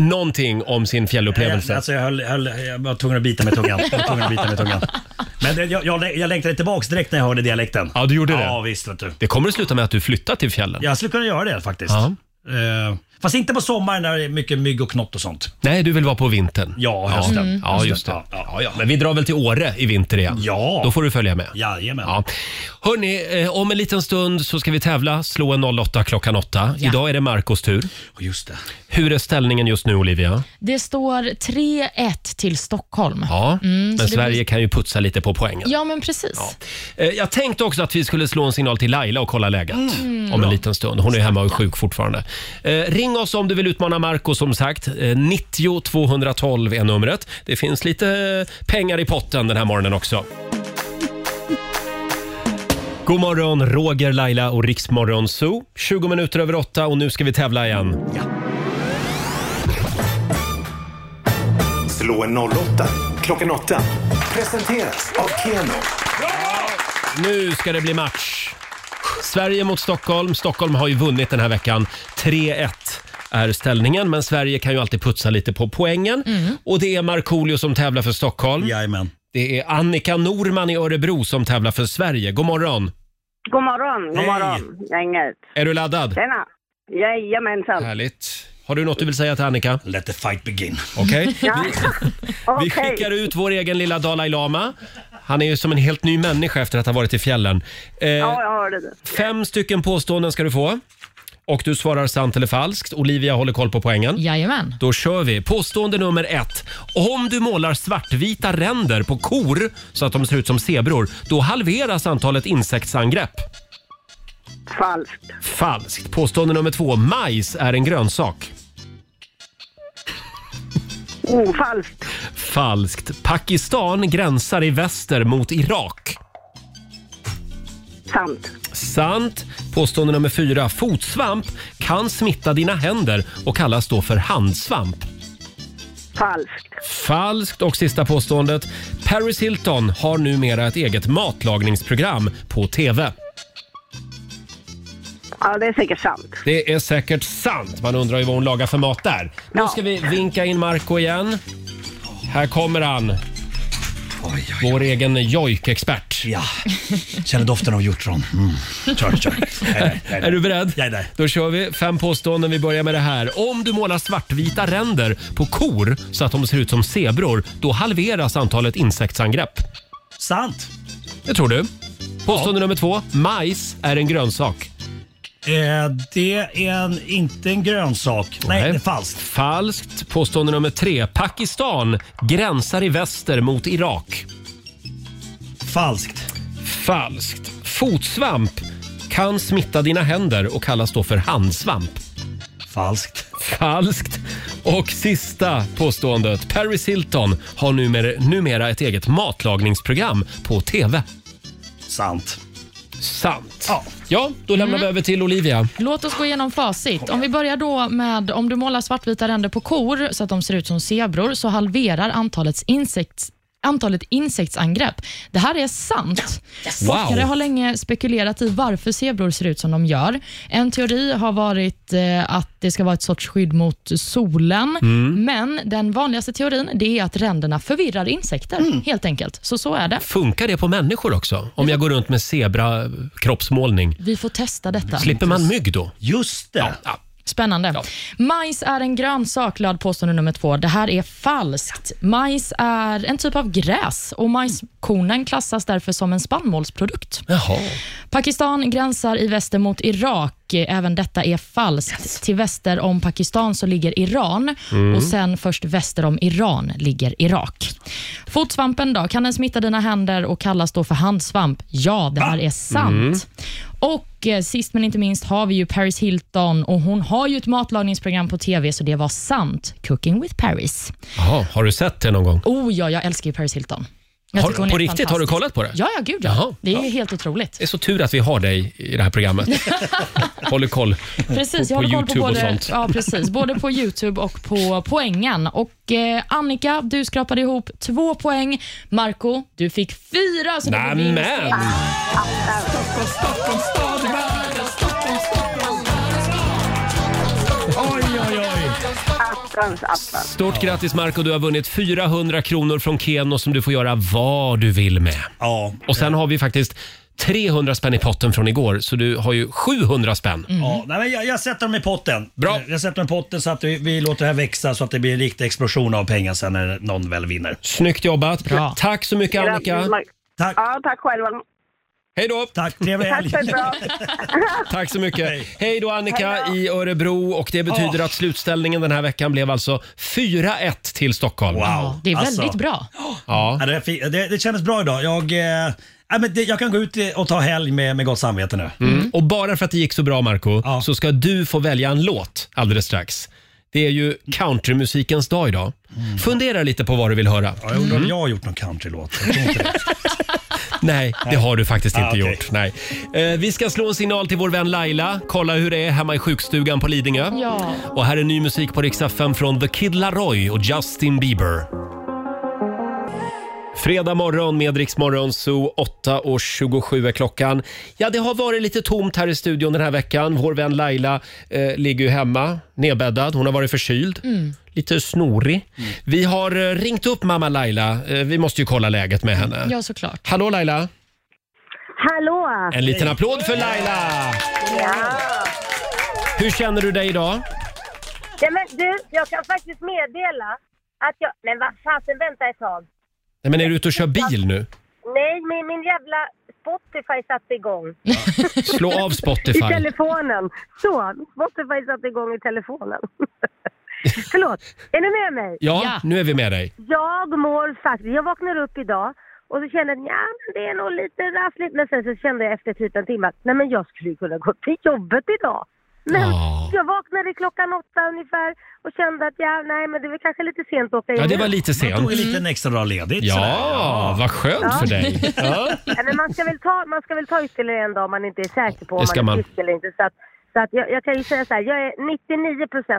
S1: någonting om sin
S9: Jag,
S1: fjällupplevelse.
S9: alltså jag, höll, höll, jag var tvungen att bita med tungan. Jag var tvungen att bita med tungan. Men det, jag, jag, jag längtade tillbaks direkt när jag hörde dialekten.
S1: Ja, du gjorde det.
S9: Ja, visst vet du.
S1: Det kommer att sluta med att du flyttar till fjällen.
S9: Jag skulle kunna göra det faktiskt.
S1: Ja.
S9: Eh, fast inte på sommaren när det är mycket mygg och knott och sånt.
S1: Nej, du vill vara på vintern.
S9: Ja, Mm. hösten.
S1: Ja, ja
S9: Hösten.
S1: just det. Ja, ja. Men vi drar väl till Åre i vinter igen.
S9: Ja.
S1: Då får du följa med.
S9: Jajamän.
S1: Ja. Hörni, eh, om en liten stund så ska vi tävla. Slå en 08 klockan 8.
S3: Ja.
S1: Idag är det Marcos tur.
S9: Just det.
S1: Hur är ställningen just nu, Olivia?
S3: Det står 3-1 till Stockholm.
S1: Ja,
S3: Mm, så
S1: men
S3: det
S1: Sverige
S3: blir-
S1: kan ju putsa lite på poängen.
S3: Ja, men precis.
S1: Eh, Jag tänkte också att vi skulle slå en signal till Laila och kolla läget
S3: Mm.
S1: om en
S3: Bra.
S1: liten stund. Hon är hemma och är sjuk fortfarande. Eh, ring oss om du vill utmana Marco som sagt. Eh, 90 212 är numret. Det finns lite eh, pengar i potten den här morgonen också. God morgon, Roger, Laila och Riksmorgon Zoo. 20 minuter över åtta och nu ska vi tävla igen.
S4: Slå en 08 klockan 8. Presenteras av Keno.
S1: Nu ska det bli match. Sverige mot Stockholm. Stockholm har ju vunnit den här veckan. 3-1 är ställningen, men Sverige kan ju alltid putsa lite på poängen. Och det är Markoolio som tävlar för Stockholm.
S9: Mm. Jajamän.
S1: Det är Annika Norman i Örebro som tävlar för Sverige. God morgon!
S5: God morgon, god
S1: Hej.
S5: morgon. Gänget.
S1: Är du laddad?
S5: Tjena. Jajamensan.
S1: Härligt. Har du något du vill säga till Annika?
S9: Let the fight begin.
S1: Okej.
S5: Ja.
S1: Vi
S5: Okej.
S1: skickar ut vår egen lilla Dalai Lama. Han är ju som en helt ny människa efter att ha varit i fjällen. Eh,
S5: Ja, jag hörde det.
S1: Fem stycken påståenden ska du få. Och du svarar sant eller falskt. Olivia håller koll på poängen.
S3: Jajamän.
S1: Då kör vi. Påstående nummer ett. Om du målar svartvita ränder på kor så att de ser ut som zebror, då halveras antalet insektsangrepp.
S5: Falskt.
S1: Falskt. Påstående nummer två. Majs är en grönsak.
S5: Oh, falskt.
S1: Falskt. Pakistan gränsar i väster mot Irak.
S5: Sant.
S1: Sant. Påstående nummer fyra. Fotsvamp kan smitta dina händer och kallas då för handsvamp.
S5: Falskt.
S1: Falskt. Och sista påståendet. Paris Hilton har numera ett eget matlagningsprogram på TV.
S5: Ja, det är säkert sant.
S1: Det är säkert sant. Man undrar ju vad hon lagar för mat där. Nu ska vi vinka in Marco igen. Här kommer han. Vår egen jojkexpert.
S9: Ja. Känner doften av hjortron. Mm. Kör, kör. Jag är där, jag
S1: Är du beredd?
S9: Jag är där.
S1: Då kör vi. Fem påståenden. Vi börjar med det här. Om du målar svartvita ränder på kor så att de ser ut som zebror, då halveras antalet insektsangrepp.
S9: Sant.
S1: Det tror du. Påstående nummer två. Majs är en grönsak.
S9: Eh, det är en, inte en grönsak. Nej, det är falskt.
S1: Falskt. Påstående nummer tre. Pakistan gränsar i väster mot Irak.
S9: Falskt.
S1: Falskt. Fotsvamp kan smitta dina händer och kallas då för handsvamp.
S9: Falskt.
S1: Falskt. Och sista påståendet. Paris Hilton har numera, numera ett eget matlagningsprogram på TV.
S9: Sant.
S1: Sant. Ja, då lämnar
S9: Mm.
S1: vi över till Olivia.
S3: Låt oss gå igenom facit. Om vi börjar då med om du målar svartvita ränder på kor så att de ser ut som zebror så halverar antalets insekts antalet insektsangrepp. Det här är sant.
S17: Yes. Wow.
S3: Forskare har länge spekulerat i varför zebror ser ut som de gör. En teori har varit eh, att det ska vara ett sorts skydd mot solen,
S1: Mm.
S3: men den vanligaste teorin det är att ränderna förvirrar insekter, helt enkelt. Så så är det.
S1: Funkar det på människor också? Om jag går runt med zebra-kroppsmålning.
S3: Vi får testa detta.
S1: Slipper man mygg då?
S9: Just det.
S3: Spännande. Majs är en grönsak, löd påstående nummer två. Det här är falskt. Majs är en typ av gräs och majskornen klassas därför som en spannmålsprodukt.
S1: Jaha.
S3: Pakistan gränsar i väster mot Irak. Även detta är falskt. Till väster om Pakistan så ligger Iran
S17: Mm.
S3: och sen först väster om Iran ligger Irak. Fotsvampen då, kan den smitta dina händer och kallas då för handsvamp? Ja, det här är sant.
S17: Mm.
S3: Och eh, sist men inte minst har vi ju Paris Hilton och hon har ju ett matlagningsprogram på TV så det var sant. Cooking with Paris.
S1: Jaha, har du sett det någon gång?
S3: Oh ja, jag älskar ju Paris Hilton. Jag
S1: Har,
S3: tycker hon är
S1: på riktigt, har du kollat
S3: fantastisk.
S1: på det?
S3: Ja, ja, gud
S1: Jaha,
S3: ja. Det är ju helt otroligt.
S1: Det är så tur att vi har dig i det här programmet. håller koll
S3: Precis,
S1: på,
S3: jag
S1: på
S3: håller koll
S1: YouTube
S3: på
S1: och
S3: både,
S1: sånt.
S3: Ja, precis, både på Youtube och på poängen. Och eh, Annika, du skrapade ihop två poäng. Marco, du fick fyra. Så det blev vinst.
S1: Nämen!
S2: Stockholm stad i världen, Stockholm, Stockholm, världens stad.
S1: Oj, oj, oj.
S5: Attans, attans.
S1: Stort grattis Marco, du har vunnit 400 kronor från Keno som du får göra vad du vill med.
S9: Ja.
S1: Och sen har vi faktiskt 300 spänn i potten från igår, så du har ju 700 spänn.
S3: Mm.
S9: Ja, nej, men jag, jag sätter dem i potten. Bra. Jag sätter dem i potten så att vi, vi låter det här växa så att det blir en riktig explosion av pengar sen när någon väl vinner.
S1: Snyggt jobbat. Tack så mycket Annika.
S9: Tack.
S5: Ja, tack själva.
S1: Hej då!
S9: Tack, trevlig
S5: Ah. Tack
S9: helg.
S5: för ett bra.
S1: Tack så mycket. Hej, då Annika i Örebro och det betyder att slutställningen den här veckan blev alltså 4-1 till Stockholm.
S9: Wow. Alltså.
S1: Ja.
S9: Ja, det, fi- det, det kändes bra idag. Jag, eh, nej, men det, jag kan gå ut eh, och ta helg med, med gott samvete nu.
S1: Mm. Och bara för att det gick så bra Marco så ska du få välja en låt alldeles strax. Det är ju countrymusikens dag idag. Fundera lite på vad du vill höra.
S9: Mm. Ja, jag undrar om jag har gjort någon countrylåt. Jag tror inte det.
S1: Nej, det har du faktiskt
S9: Ah,
S1: inte
S9: okej.
S1: gjort. Nej. Eh, vi ska slå en signal till vår vän Laila, kolla hur det är hemma i sjukstugan på Lidingö.
S3: Ja.
S1: Och här är ny musik på Rix FM från The Kid Laroi och Justin Bieber. Fredag morgon med Rix Morgon Zoo, 8.27 är klockan. Ja, det har varit lite tomt här i studion den här veckan. Vår vän Laila eh, ligger ju hemma, nedbäddad. Hon har varit förkyld.
S3: Mm.
S1: Lite snorig.
S9: Mm.
S1: Vi har eh, ringt upp mamma Laila. Eh, Vi måste ju kolla läget med henne.
S3: Ja, såklart.
S1: Hallå Laila!
S5: Hallå!
S1: En liten applåd för Laila! Hur känner du dig idag?
S5: Ja, men du, jag kan faktiskt meddela att jag... Men vad fasen, vänta ett tag.
S1: Nej, men är du ute och kör bil nu?
S5: Nej, min, min jävla Spotify satte igång.
S1: Slå av
S5: I
S1: Spotify.
S5: telefonen. Så, min Spotify satte igång i telefonen. Förlåt, är ni med mig?
S1: Ja, nu är vi med dig.
S5: Jag mår faktiskt... Jag vaknar upp idag och så känner jag att "Nja, men det är nog lite rassligt. Men sen så kände jag efter typ en timme att nej men jag skulle ju kunna gå till jobbet idag. Men jag vaknade klockan åtta ungefär och kände att ja, nej men det var kanske lite sent att åka in
S1: Ja, det
S5: nu."
S1: var lite
S9: Man
S1: sent.
S9: tog en liten extra dag ledigt. sådär.
S1: Ja, vad skönt för dig. Ja.
S5: Nej, men man, ska väl ta, man ska väl ta ytterligare en dag om man inte är säker på om
S1: Det ska
S5: man är
S1: man.
S5: frisk eller inte. Så, att, så att jag, jag kan ju säga så här, jag är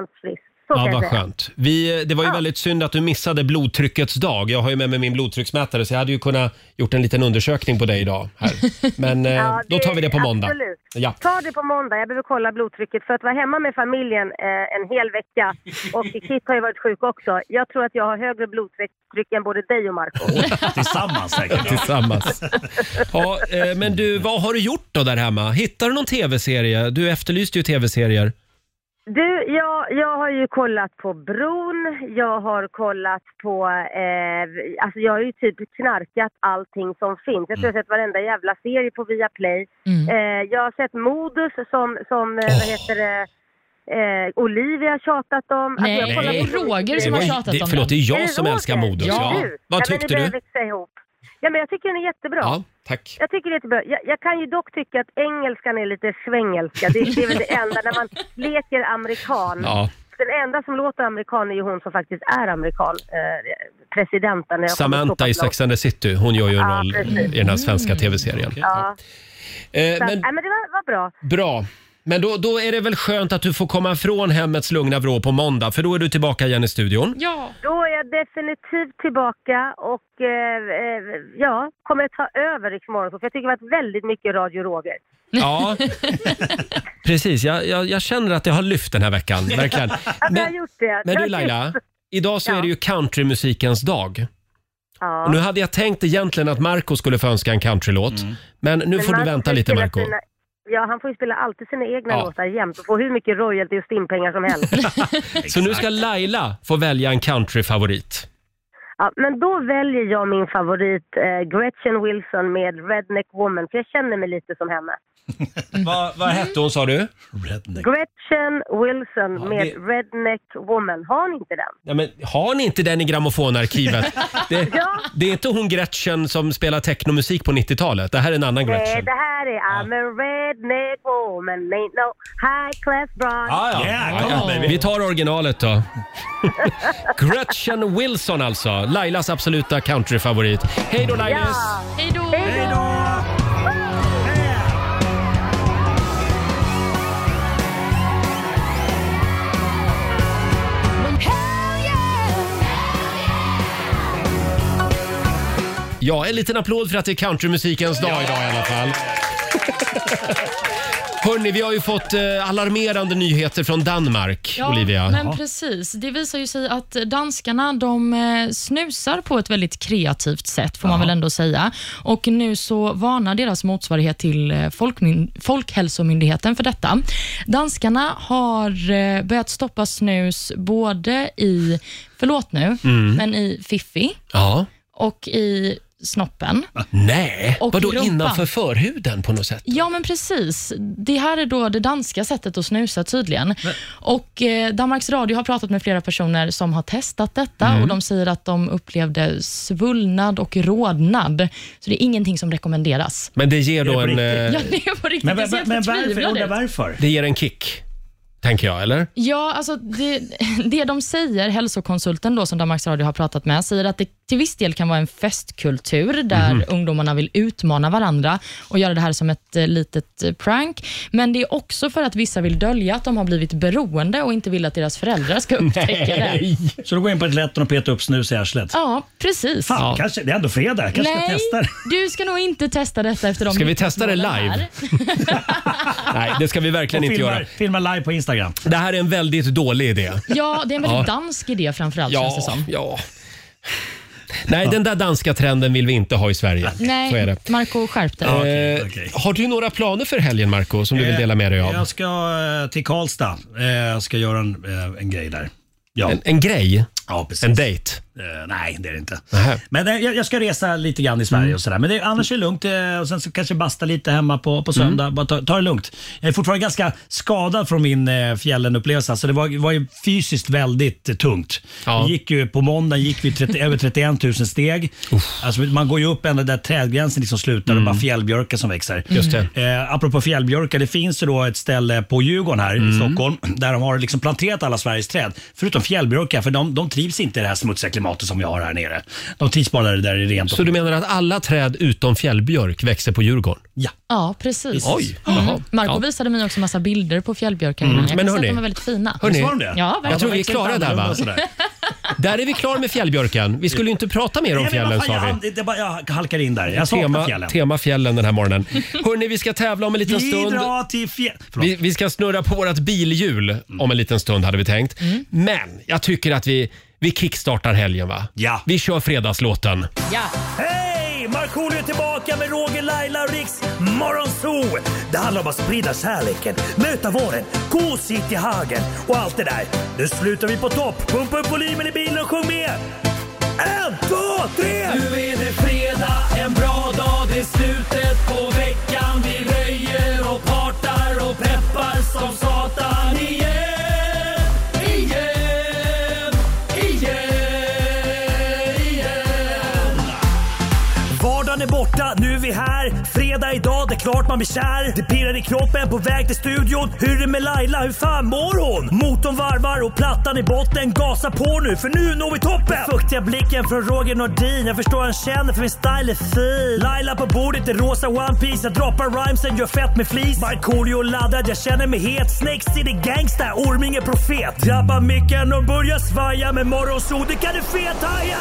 S5: 99% frisk. Så kan
S1: Ja,
S5: jag
S1: vad
S5: säga.
S1: skönt. Vi, det var ju väldigt synd att du missade blodtryckets dag. Jag har ju med mig min blodtrycksmätare så jag hade ju kunnat gjort en liten undersökning på dig idag. Här. Men eh,
S5: Ja,
S1: då tar vi det på måndag.
S5: Absolut.
S1: Ja.
S5: Ta det på måndag. Jag behöver kolla blodtrycket för att vara hemma med familjen eh, en hel vecka och Kit har ju varit sjuk också. Jag tror att jag har högre blodtryck än både dig och Marco.
S9: Tillsammans säkert.
S1: Tillsammans. Ja, eh, men du, vad har du gjort då där hemma? Hittar du någon tv-serie? Du efterlyste ju tv-serier.
S5: Du, jag, jag har ju kollat på Bron, jag har kollat på, eh, alltså jag har ju typ knarkat allting som finns. Jag tror jag har sett varenda jävla serie på Viaplay.
S1: Mm.
S3: Mm.
S5: Eh, jag har sett Modus som, som eh, vad heter det, eh, Olivia har tjatat om. Alltså, jag
S1: Nej,
S5: kollar
S1: det är
S5: på-
S1: Roger som har Det var- tjatat det- om förlåt, den. det är jag
S5: det
S1: som
S5: Roger?
S1: älskar Modus, ja.
S5: du.
S1: Vad
S5: men
S1: tyckte
S5: det börjar
S1: du?
S5: växa ihop. Ja, men jag tycker den är jättebra.
S1: Ja, tack.
S5: Jag tycker det är jättebra. Jag, jag kan ju dock tycka att engelskan är lite svängelska. Det, det är väl det enda när man leker amerikan.
S1: Ja.
S5: Den enda som låter amerikan är ju hon som faktiskt är amerikan. Eh, presidenten. när jag kommer
S1: Samantha
S5: stå på
S1: i
S5: plan.
S1: Sex and the City, hon gör ju en
S5: Ja,
S1: roll
S5: precis. Mm.
S1: i den här svenska tv-serien.
S5: Ja.
S1: Eh,
S5: Så,
S1: men,
S5: nej, men det var, var bra.
S1: bra. Men då, då är det väl skönt att du får komma ifrån hemmets lugna vrå på måndag, för då är du tillbaka igen i studion.
S3: Ja.
S5: Då är jag definitivt tillbaka och eh, eh, ja, kommer att ta över Rix Morgon, för jag tycker det har varit väldigt mycket Radio Roger.
S1: Ja, precis. Jag, jag, jag känner att jag har lyft den här veckan, verkligen.
S5: Ja, men, jag har gjort det.
S1: Men
S5: Jag
S1: du
S5: har
S1: Laila,
S5: gjort-
S1: idag så är det ju countrymusikens dag.
S5: Ja.
S1: Och nu hade jag tänkt egentligen att Marco skulle få önska en countrylåt. Men nu
S5: Men
S1: får du
S5: Marco
S1: vänta
S5: får ju
S1: lite
S5: spela
S1: Marco.
S5: sina- Ja, han får ju spela alltid sina egna
S1: Ja.
S5: låtar jämt och få hur mycket royalty och stimpengar som helst.
S1: Så nu ska Laila få välja en countryfavorit.
S5: Ja, men då väljer jag min favorit eh, Gretchen Wilson med Redneck Woman, för jag känner mig lite som henne.
S1: Vad, vad hette hon sa du?
S5: Gretchen Wilson med
S1: det-
S5: Redneck Woman. Har ni inte den?
S1: Ja, men, har ni inte den i grammofonarkivet? Det,
S5: Ja.
S1: det är inte hon Gretchen som spelar technomusik på 90-talet. Det här är en annan
S5: Nej,
S1: Gretchen.
S5: det här är I'm a redneck woman, ain't no high class broad.
S1: Vi tar originalet då. Gretchen Wilson alltså, Lailas absoluta countryfavorit. Hej då Laila!
S2: Ja.
S3: Hej då!
S2: Hej då!
S1: Ja, en liten applåd för att det är countrymusikens dag idag i alla fall. Hörni, vi har ju fått eh, alarmerande nyheter från Danmark,
S3: Ja,
S1: Olivia.
S3: men precis. Det visar ju sig att danskarna de eh, snusar på ett väldigt kreativt sätt, får man väl ändå säga. Och Nu så varnar deras motsvarighet till eh, Folkmyn- Folkhälsomyndigheten för detta. Danskarna har eh, börjat stoppa snus både i, förlåt nu,
S1: Mm.
S3: men i fiffi
S1: Ja.
S3: och i snoppen.
S1: Nej,
S3: Och
S1: vadå
S3: rumpan.
S1: innanför förhuden på något sätt?
S3: Ja, men precis. Det här är då det danska sättet att snusa tydligen. Och eh, Danmarks Radio har pratat med flera personer som har testat detta
S7: Mm.
S3: och de säger att de upplevde svullnad och rodnad. Så det är ingenting som rekommenderas.
S1: Men det ger då en... eh,
S3: Ja, det är på riktigt.
S9: Men-
S3: det ser helt
S9: men- men varför?
S3: förtvivlad
S9: Undrar
S3: ut.
S9: varför?
S1: Det ger en kick, tänker jag, eller?
S3: Ja, alltså det, det de säger, hälsokonsulten då, som Danmarks Radio har pratat med, säger att det till viss del kan vara en festkultur där
S7: Mhm.
S3: ungdomarna vill utmana varandra och göra det här som ett eh, litet eh, prank. Men det är också för att vissa vill dölja att de har blivit beroende och inte vill att deras föräldrar ska upptäcka det.
S9: Så du går in på ett lätt och petar upp snus i arslet?
S3: Ja, precis.
S9: Fan,
S3: Ja.
S9: kanske, det är ändå fredag. kanske ska
S3: Nej,
S9: testa det.
S3: du ska nog inte testa detta efter de
S1: Ska vi testa det
S3: vittnesmålen
S1: live?
S3: här.
S1: Nej, det ska vi verkligen
S9: Och
S1: inte
S9: filmar-
S1: göra. Filma live på Instagram. Det här är en väldigt dålig idé.
S3: Ja, det är en väldigt
S1: Ja.
S3: dansk idé framförallt, känns det
S1: Ja,
S3: som.
S1: ja. Nej, den där danska trenden vill vi inte ha i Sverige. Så är
S3: Nej,
S1: det.
S3: Marco skärp dig.
S1: Eh, Har du några planer för helgen, Marco, som du vill
S9: Eh,
S1: dela med dig av?
S9: Jag ska eh, till Karlstad. Eh, Jag ska göra en, eh, en grej där. Ja.
S1: En, en grej?
S9: Ja, precis.
S1: En dejt?
S9: Eh, nej, det är det inte. Men eh, jag, jag ska resa lite grann i Sverige
S1: Mm.
S9: och sådär. Men det, annars är det lugnt. eh, Och sen så kanske basta lite hemma på, på söndag.
S1: Mm.
S9: Bara ta, ta det lugnt. Jag är fortfarande ganska skadad från min eh, fjällenupplevelse. Så det var, var ju fysiskt väldigt eh, tungt. Vi gick ju, på måndag gick vi 30, över 31 000 steg. Alltså, man går ju upp ända där trädgränsen liksom slutar och bara fjällbjörkar som växer.
S1: Mm. Just det.
S9: Eh, apropå fjällbjörkar, det finns ju då ett ställe på Djurgården här
S1: Mm.
S9: i Stockholm där de har liksom planterat alla Sveriges träd. Förutom fjällbjörkar, för de, de trivs inte i det här smutsiga klimatet som vi har här nere. De trivs bara där det är rent.
S1: Så du menar att alla träd utom fjällbjörk växer på Djurgården?
S9: Ja.
S3: Ja, precis.
S1: Oj, jaha.
S3: Mm. Marco
S1: Ja.
S3: visade mig också massa bilder på fjällbjörkar.
S1: Mm.
S3: Jag kan
S1: Men
S3: säga att
S1: hörni,
S3: de är väldigt fina.
S1: Hörni,
S3: Ja,
S1: jag tror vi är klara där va? Där är vi klara med fjällbjörken. Vi skulle ju inte prata mer om fjällen sa vi.
S9: Jag, jag, jag halkar in där. Jag saknar
S1: Tema,
S9: fjällen.
S1: tema fjällen den här morgonen. Hörni, vi ska tävla om en liten
S9: Vi
S1: stund.
S9: drar till fjäll...
S1: Vi, vi ska snurra på vårt bilhjul om en liten stund hade vi tänkt.
S9: Mm.
S1: Men jag tycker att vi, vi kickstartar helgen va?
S9: Ja.
S1: Vi kör fredagslåten.
S3: Ja.
S8: Hej! Markoolio är tillbaka med Roger, Laila och Riks Morgonzoo! Det handlar om att sprida kärleken, möta våren, gosigt i hagen och allt det där. Nu slutar vi på topp! Pumpa upp volymen i bilen och sjung med! En, två, tre!
S2: Nu är det fredag, en bra dag, det är slutet på veckan. Vi röjer och partar och peppar som satan igen. Igen, igen, igen.
S8: Vardagen är borta, nu är vi här. Fredag idag, det klart man blir kär. Det pirrar i kroppen på väg till studion. Hur är det med Laila? Hur fan mår hon? Motorn varvar och plattan i botten. Gasa på nu för nu når vi toppen! Den fuktiga blicken från Roger Nordin. Jag förstår han känner för min style är fin. Laila på bordet i rosa One Piece Jag droppar rhymesen, gör fett med flis. Markoolio laddad, jag känner mig het. Snake City gangsta, Orming är profet. Drabbar micken och börjar svaja. Med morgonsol, det kan du fethaja!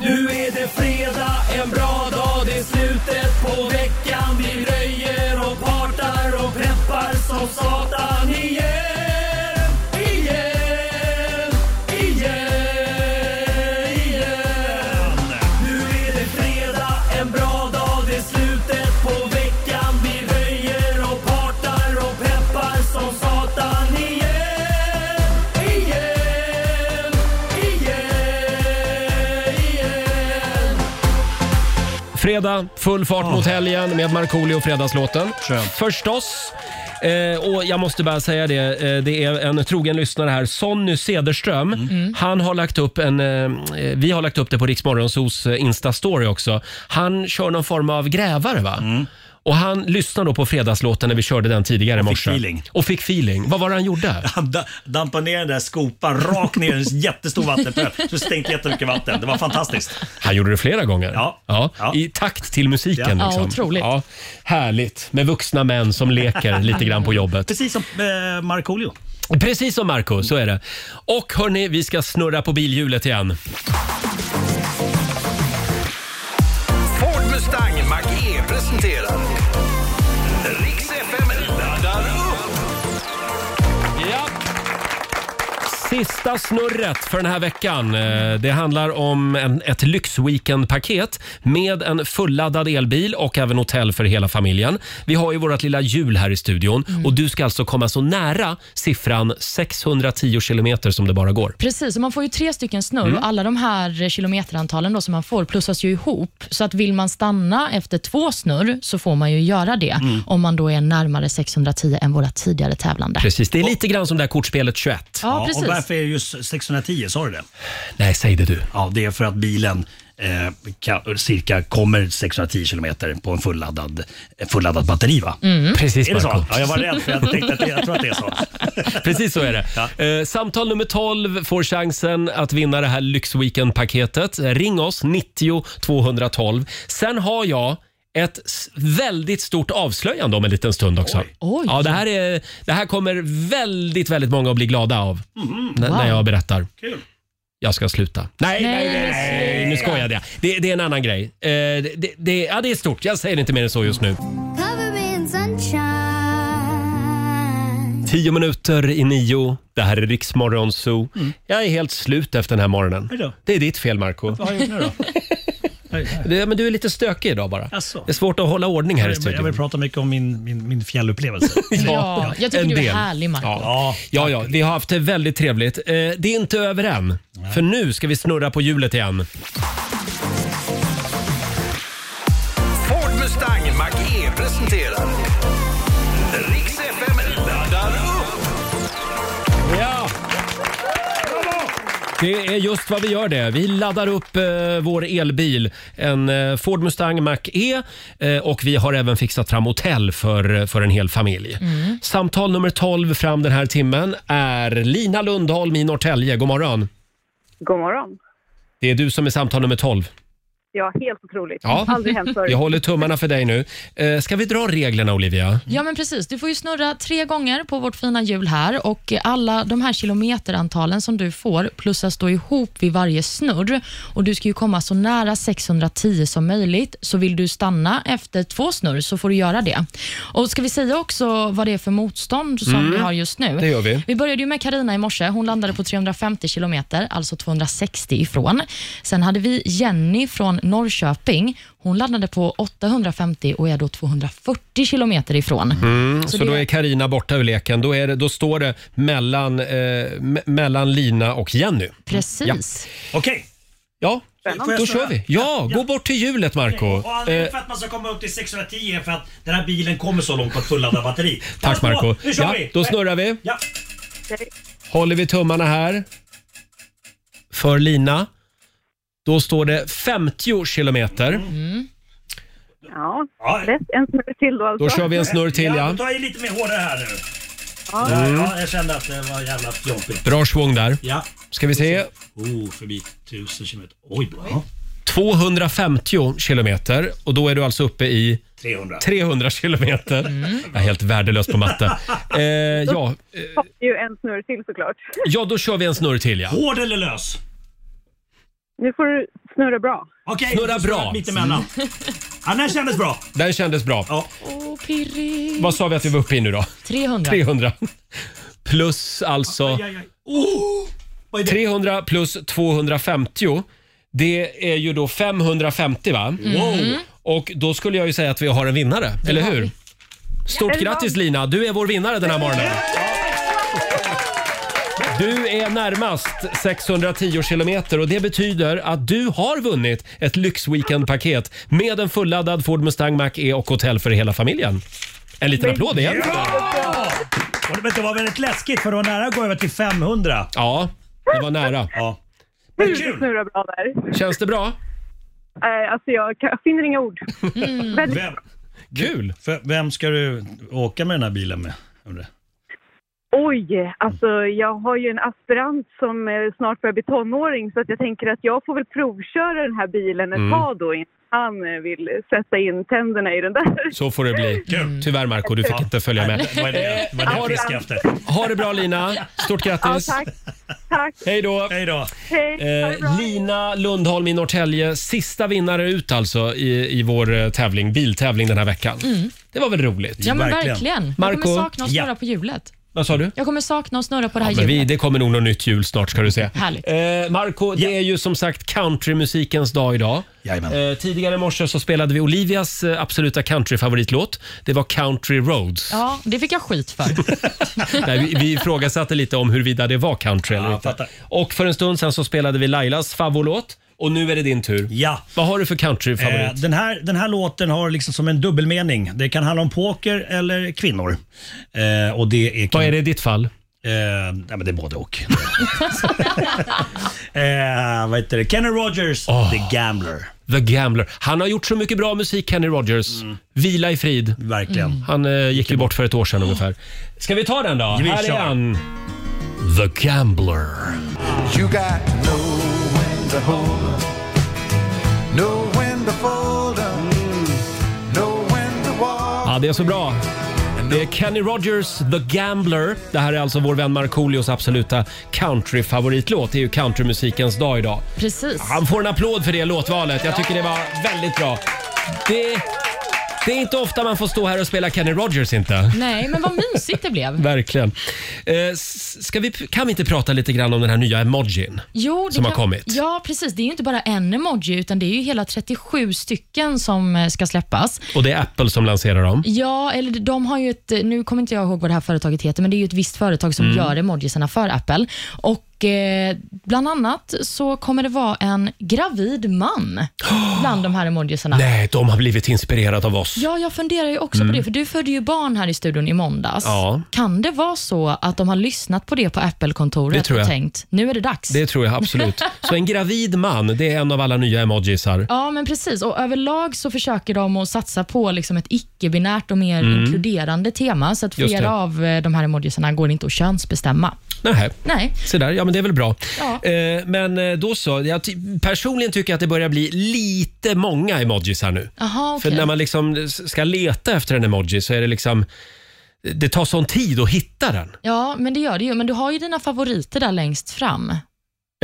S2: Nu är det fredag, en bra dag, det är slutet på veckan Vi röjer och partar och preppar som satan igen Igen, igen, igen Nu är det fredag, en bra dag, det är slutet på veckan Vi röjer och partar och preppar som satan igen Igen, igen, igen
S1: Fredag, full fart mot
S9: Ah.
S1: helgen med Markoolio Fredagslåten. Förstås. Eh, och jag måste bara säga det, eh, det är en trogen lyssnare här, Sonny Cederström.
S9: Mm.
S1: Han har lagt upp en, eh, vi har lagt upp det på Riksmorgonsos eh, Insta-story också. Han kör någon form av grävare va?
S9: Mm.
S1: Och han lyssnade då på fredagslåten när vi körde den tidigare i
S9: Och fick
S1: morse.
S9: feeling.
S1: Och fick feeling. Vad var det han gjorde?
S9: Han da- dampade ner den där skopan rakt ner i en jättestor vattenpöl. Så stänkte jättemycket vatten. Det var fantastiskt.
S1: Han gjorde det flera gånger. Ja. I takt till musiken.
S9: Ja.
S1: Liksom.
S9: Ja, otroligt.
S1: Ja, härligt med vuxna män som leker lite grann på jobbet.
S9: Precis som eh, Markoolio.
S1: Precis som Marco, så är det. Och hörni, vi ska snurra på bilhjulet igen.
S18: Ford Mustang Mach-E presenterar Riks FM laddar upp.
S1: Ja. Sista snurret för den här veckan. Eh, Det handlar om en, ett lyxweekendpaket med en fulladdad elbil och även hotell för hela familjen. Vi har ju vårt lilla hjul här i studion
S9: Mm.
S1: och du ska alltså komma så nära siffran 610 kilometer som det bara går.
S3: Precis, och man får ju tre stycken snurr
S1: Mm.
S3: och alla de här eh, kilometerantalen då som man får plussas ju ihop. Så att vill man stanna efter två snurr så får man ju göra det
S1: Mm.
S3: om man då är närmare 610 än våra tidigare tävlande.
S1: Precis, det är lite grann som det här kortspelet 21.
S3: Ja, precis.
S9: Och varför är det just 610? Sa du det?
S1: Nej, säg det du.
S9: Ja, det är för att bilen eh, kan, cirka kommer 610 kilometer på en fulladdad, fulladdad batteri. Va?
S1: Mm. Precis,
S9: är det så?
S1: Marco.
S9: Ja, jag var rädd för jag tänkte att det, jag tror att det är så.
S1: Precis så är det. Eh, samtal nummer 12 får chansen att vinna det här Lyxweekend-paketet. Eh, Ring oss, 90 212. Sen har jag ett s- väldigt stort avslöjande om en liten stund också. Ja, det, här är, det här kommer väldigt, väldigt många att bli glada av när, när jag berättar.
S9: Kul.
S1: Jag ska sluta. Nej, nej, nej, nej, nu skojade jag. Det, det är en annan grej. Eh, det, det- det, ja, det är stort. Jag säger inte mer än så just nu.
S2: Cover me in sunshine
S1: Tio minuter i nio. Det här är Riksmorgon Zoo. Jag är helt slut efter den här morgonen.
S9: Hej Mm. då.
S1: Det är ditt fel, Marco
S9: Vad har jag gjort nu då?
S1: Det- men Du är lite stökig idag bara.
S9: Jaså?
S1: Det är svårt att hålla ordning här i
S9: Jag vill, jag
S1: studion.
S9: vill prata mycket om min, min, min fjällupplevelse.
S3: Ja, jag tycker
S1: en
S3: du är
S1: del.
S3: härlig, Marco.
S1: Ja. Ja, ja, vi har haft det väldigt trevligt. Eh, det är inte över än, för nu ska vi snurra på hjulet igen.
S18: Ford Mustang Mach-E presenterar Riks FM laddar upp.
S1: Ja! Det är just vad vi gör det. Vi laddar upp eh, vår elbil, en eh, Ford Mustang Mach-E eh, och vi har även fixat fram hotell för, för en hel familj. Samtal nummer 12 fram den här timmen är Lina Lundholm i Norrtälje. God morgon.
S11: God morgon.
S1: Det är du som är samtal nummer 12.
S11: Ja, helt otroligt.
S1: Ja.
S11: Aldrig hänt förut.
S1: Jag håller tummarna för dig nu. Eh, Ska vi dra reglerna Olivia?
S3: Ja, men precis. Du får ju snurra tre gånger på vårt fina hjul här och alla de här kilometerantalen som du får plussas då ihop vid varje snurr och du ska ju komma så nära 610 som möjligt. Så vill du stanna efter två snurr så får du göra det. Och Ska vi säga också vad det är för motstånd som
S1: Mm,
S3: vi har just nu?
S1: det gör vi.
S3: Vi började ju med Karina i morse. Hon landade på 350 kilometer, alltså 260 ifrån. Sen hade vi Jenny från Norrköping. Hon landade på 850 och är då 240 kilometer ifrån.
S1: Mm, så
S3: det-
S1: då är Karina borta ur leken. Då, är det, då står det mellan, eh, me- mellan Lina och Jenny.
S3: Precis.
S1: Ja. Okej. Ja,
S9: Spännande.
S1: då kör vi. Ja, gå bort till hjulet Marco.
S9: Och
S1: Eh,
S9: anledningen för att man ska komma upp till 610 är för att den här bilen kommer så långt på ett fulladdat batteri. Alltså,
S1: tack Marco.
S9: Nu kör
S1: Ja,
S9: vi!
S1: då snurrar vi.
S9: Ja.
S1: Håller vi tummarna här för Lina. Då står det 50 kilometer.
S11: Ja, lätt. En snurr till då alltså.
S1: Då kör vi en snurr till, ja.
S9: Ta i lite mer hårdare här nu.
S11: Ja.
S9: Ja,
S1: Mm.
S9: ja, jag kände att det var jävligt jobbigt.
S1: Bra svung där.
S9: Ja.
S1: Ska vi se.
S9: Oh, förbi 1000 kilometer. Oj, bra.
S1: 250 kilometer och då är du alltså uppe i
S9: 300.
S1: 300 kilometer. Jag är helt värdelös på matte. Eh, ja.
S11: Då har vi ju en snurr till såklart.
S1: ja, då kör vi en snurr till ja.
S9: Hård eller lös?
S11: Nu får du snurra bra.
S9: Okej,
S1: Snurra bra. Mm.
S9: Mitt emellan. Ja, den kändes bra.
S1: Den kändes bra. Vad sa vi att vi var uppe i nu då?
S3: 300.
S1: 300. Plus alltså...
S9: Oh,
S1: 300 plus 250. Det är ju då 550 va? Mm.
S2: Wow.
S1: Och då skulle jag ju säga att vi har en vinnare, eller hur? Stort
S2: Ja.
S1: grattis Lina, du är vår vinnare den här morgonen. Du är närmast 610 kilometer och det betyder att du har vunnit ett lyxweekendpaket med en fulladdad Ford Mustang Mach-E och hotell för hela familjen. En liten applåd igen.
S9: Ja! Och det- men Det var väldigt läskigt för det var nära att gå över till 500.
S1: Ja, det var nära.
S9: Ja.
S11: Men kul! Snurra bra där.
S1: Känns det bra?
S11: Eh, alltså jag, kan, jag finner inga ord. Väldigt
S9: Vem,
S1: Kul!
S9: För vem ska du åka med den här bilen med? undrar jag?
S11: Oj, alltså jag har ju en aspirant som eh, snart börjar bli tonåring så att jag tänker att jag får väl provköra den här bilen ett
S1: Mm.
S11: tag då innan han eh, vill sätta in tänderna i den där.
S1: Så får det bli.
S9: Mm.
S1: Tyvärr Marco, du fick inte följa med.
S9: Vad är det, vad är det jag
S1: Ha Mm. det-
S9: fiskar efter?
S1: Ha det bra Lina. Stort
S11: Ja,
S1: grattis.
S11: tack. Tack.
S1: Hej då.
S9: Hej då.
S11: Hej. ha det bra.
S1: Eh, Lina Lundholm i Norrtälje, sista vinnare ut alltså i, i vår eh, tävling, biltävling den här veckan.
S3: Mm.
S1: Det var väl roligt?
S3: Ja, men verkligen. Jag
S1: Marco,
S3: kommer sakna att snurra på hjulet.
S1: vad sa du?
S3: Jag kommer sakna att snurra på det här
S1: Ja, men vi,
S3: hjulet.
S1: det kommer nog något nytt jul snart ska du se.
S3: Härligt.
S1: Eh, Marco, det är ju som sagt countrymusikens dag idag. Eh, tidigare i morse så spelade vi Olivias eh, absoluta countryfavoritlåt. Det var Country Roads.
S3: Ja, det fick jag skit för.
S1: Nej, vi, vi ifrågasatte lite om huruvida det var country eller inte. Och för en stund sen så spelade vi Lailas favoritlåt och nu är det din tur.
S9: Ja.
S1: Vad har du för countryfavorit?
S9: Eh, den, här, den här låten har liksom som en dubbelmening. Det kan handla om poker eller kvinnor. Eh, och det är
S1: Vad är det i ditt fall?
S9: Eh, nej, men det är både och. eh, vad heter det? Kenny Rogers, The Gambler.
S1: The Gambler. Han har gjort så mycket bra musik, Kenny Rogers.
S9: Mm.
S1: Vila i frid.
S9: Verkligen.
S1: Han eh, gick ju bort för ett år sedan ungefär. Ska vi ta den då?
S9: Vi
S1: här
S9: kör.
S1: är han. The Gambler.
S17: You got no when to hold 'em, no when to fold 'em, no when to walk.
S1: Ja, det är så bra. Det är Kenny Rogers, The Gambler. Det här är alltså vår vän Markoolios absoluta countryfavoritlåt. Det är ju countrymusikens dag idag.
S3: Precis.
S1: Han får en applåd för det låtvalet. Jag tycker det var väldigt bra. Det, det är inte ofta man får stå här och spela Kenny Rogers inte.
S3: Nej, men vad mysigt det blev.
S1: Verkligen. Eh, s- ska vi, kan vi inte prata lite grann om den här nya emojin?
S3: Jo, det
S1: Som har kommit.
S3: Ja, precis. Det är ju inte bara en emoji, utan det är ju hela 37 stycken som eh, ska släppas.
S1: Och det är Apple som lanserar dem.
S3: Ja, eller de har ju ett, eh, nu kommer inte jag ihåg vad det här företaget heter, men det är ju ett visst företag som
S1: Mm.
S3: gör emojisarna för Apple. Och eh, bland annat så kommer det vara en gravid man bland de här emojisarna.
S1: Nej, de har blivit inspirerade av oss.
S3: Ja, jag funderar ju också
S1: Mm.
S3: på det, för du födde ju barn här i studion i måndags.
S1: Ja.
S3: Kan det vara så att de har lyssnat på det på Apple-kontoret
S1: Det tror
S3: och
S1: jag.
S3: tänkt, nu är det dags?
S1: Det tror jag absolut. Så en gravid man, det är en av alla nya emojisar.
S3: Ja, men precis. Och överlag så försöker de att satsa på liksom ett icke-binärt och mer
S1: Mm.
S3: inkluderande tema, så att
S1: Just det.
S3: flera av eh, de här emojisarna går inte att könsbestämma.
S1: Nähä.
S3: Nej.
S1: Så där, ja men det är väl bra.
S3: Ja.
S1: Eh, men eh, då så, jag ty- personligen tycker jag att det börjar bli lite många emojis här nu.
S3: Jaha, okej.
S1: För när man liksom s- ska leta efter en emoji så är det liksom det tar sån tid att hitta den.
S3: Ja, men det gör det ju. Men du har ju dina favoriter där längst fram.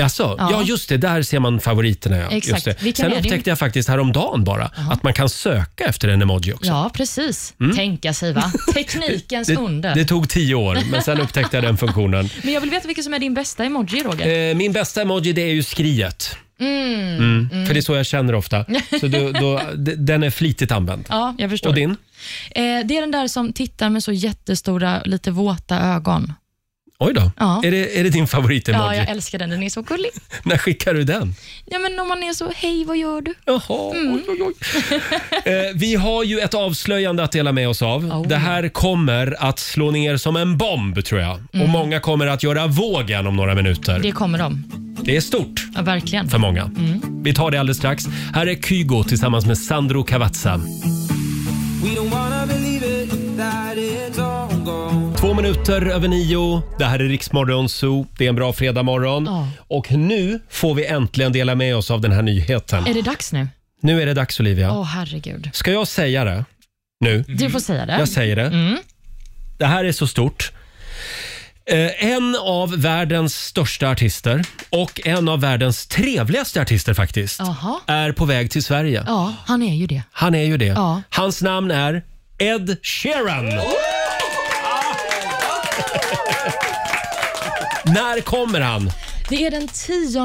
S1: Alltså, ja.
S3: Ja.
S1: just det. Där ser man favoriterna. Ja.
S3: Exakt.
S1: Just det.
S3: Vilken
S1: Sen
S3: är din-
S1: upptäckte jag faktiskt häromdagen bara att man kan söka efter en emoji också. Mm.
S3: Ja, precis. Tänka sig, va? Teknikens
S1: Det,
S3: under.
S1: det tog tio år, men sen upptäckte jag den funktionen.
S3: Men jag vill veta vilken som är din bästa emoji, Roger.
S1: Eh, min bästa emoji det är ju skriet.
S3: Mm.
S1: Mm.
S3: Mm.
S1: För det är så jag känner ofta. Så då, då, d- den är flitigt använd.
S3: Ja, jag förstår.
S1: Och din?
S3: Eh, det är den där som tittar med så jättestora, lite våta ögon.
S1: Oj då.
S3: Ja.
S1: Är, det, är det din
S3: Ja,
S1: favoritemoji?
S3: jag älskar den. Den är så gullig.
S1: När skickar du den?
S3: Ja, men om man är så, hej, vad gör du?
S1: Jaha,
S3: Mm.
S1: Eh, vi har ju ett avslöjande att dela med oss av. Det här kommer att slå ner som en bomb tror jag. Och
S3: Mm.
S1: många kommer att göra vågen om några minuter.
S3: Det
S1: Det,
S3: kommer de.
S1: är stort
S3: Ja, verkligen.
S1: för många.
S3: Mm.
S1: Vi tar det alldeles strax. Här är Kygo tillsammans med Sandro Cavazza.
S2: We don't wanna believe it, that it's all gone.
S1: Två minuter över nio. Det här är Riksmorgon Zoo. Det är en bra fredagmorgon. Och nu får vi äntligen dela med oss av den här nyheten.
S3: Är det dags nu?
S1: Nu är det dags Olivia.
S3: Åh, herregud.
S1: Ska jag säga det nu?
S3: Du får säga det.
S1: Mm. Jag säger det.
S3: Mm.
S1: Det här är så stort. Eh, en av världens största artister och en av världens trevligaste artister faktiskt
S3: Jaha.
S1: är på väg till Sverige.
S3: Ja, han är ju det.
S1: Han är ju det.
S3: Ja.
S1: Hans namn är Ed Sheeran. När kommer han?
S3: Det är den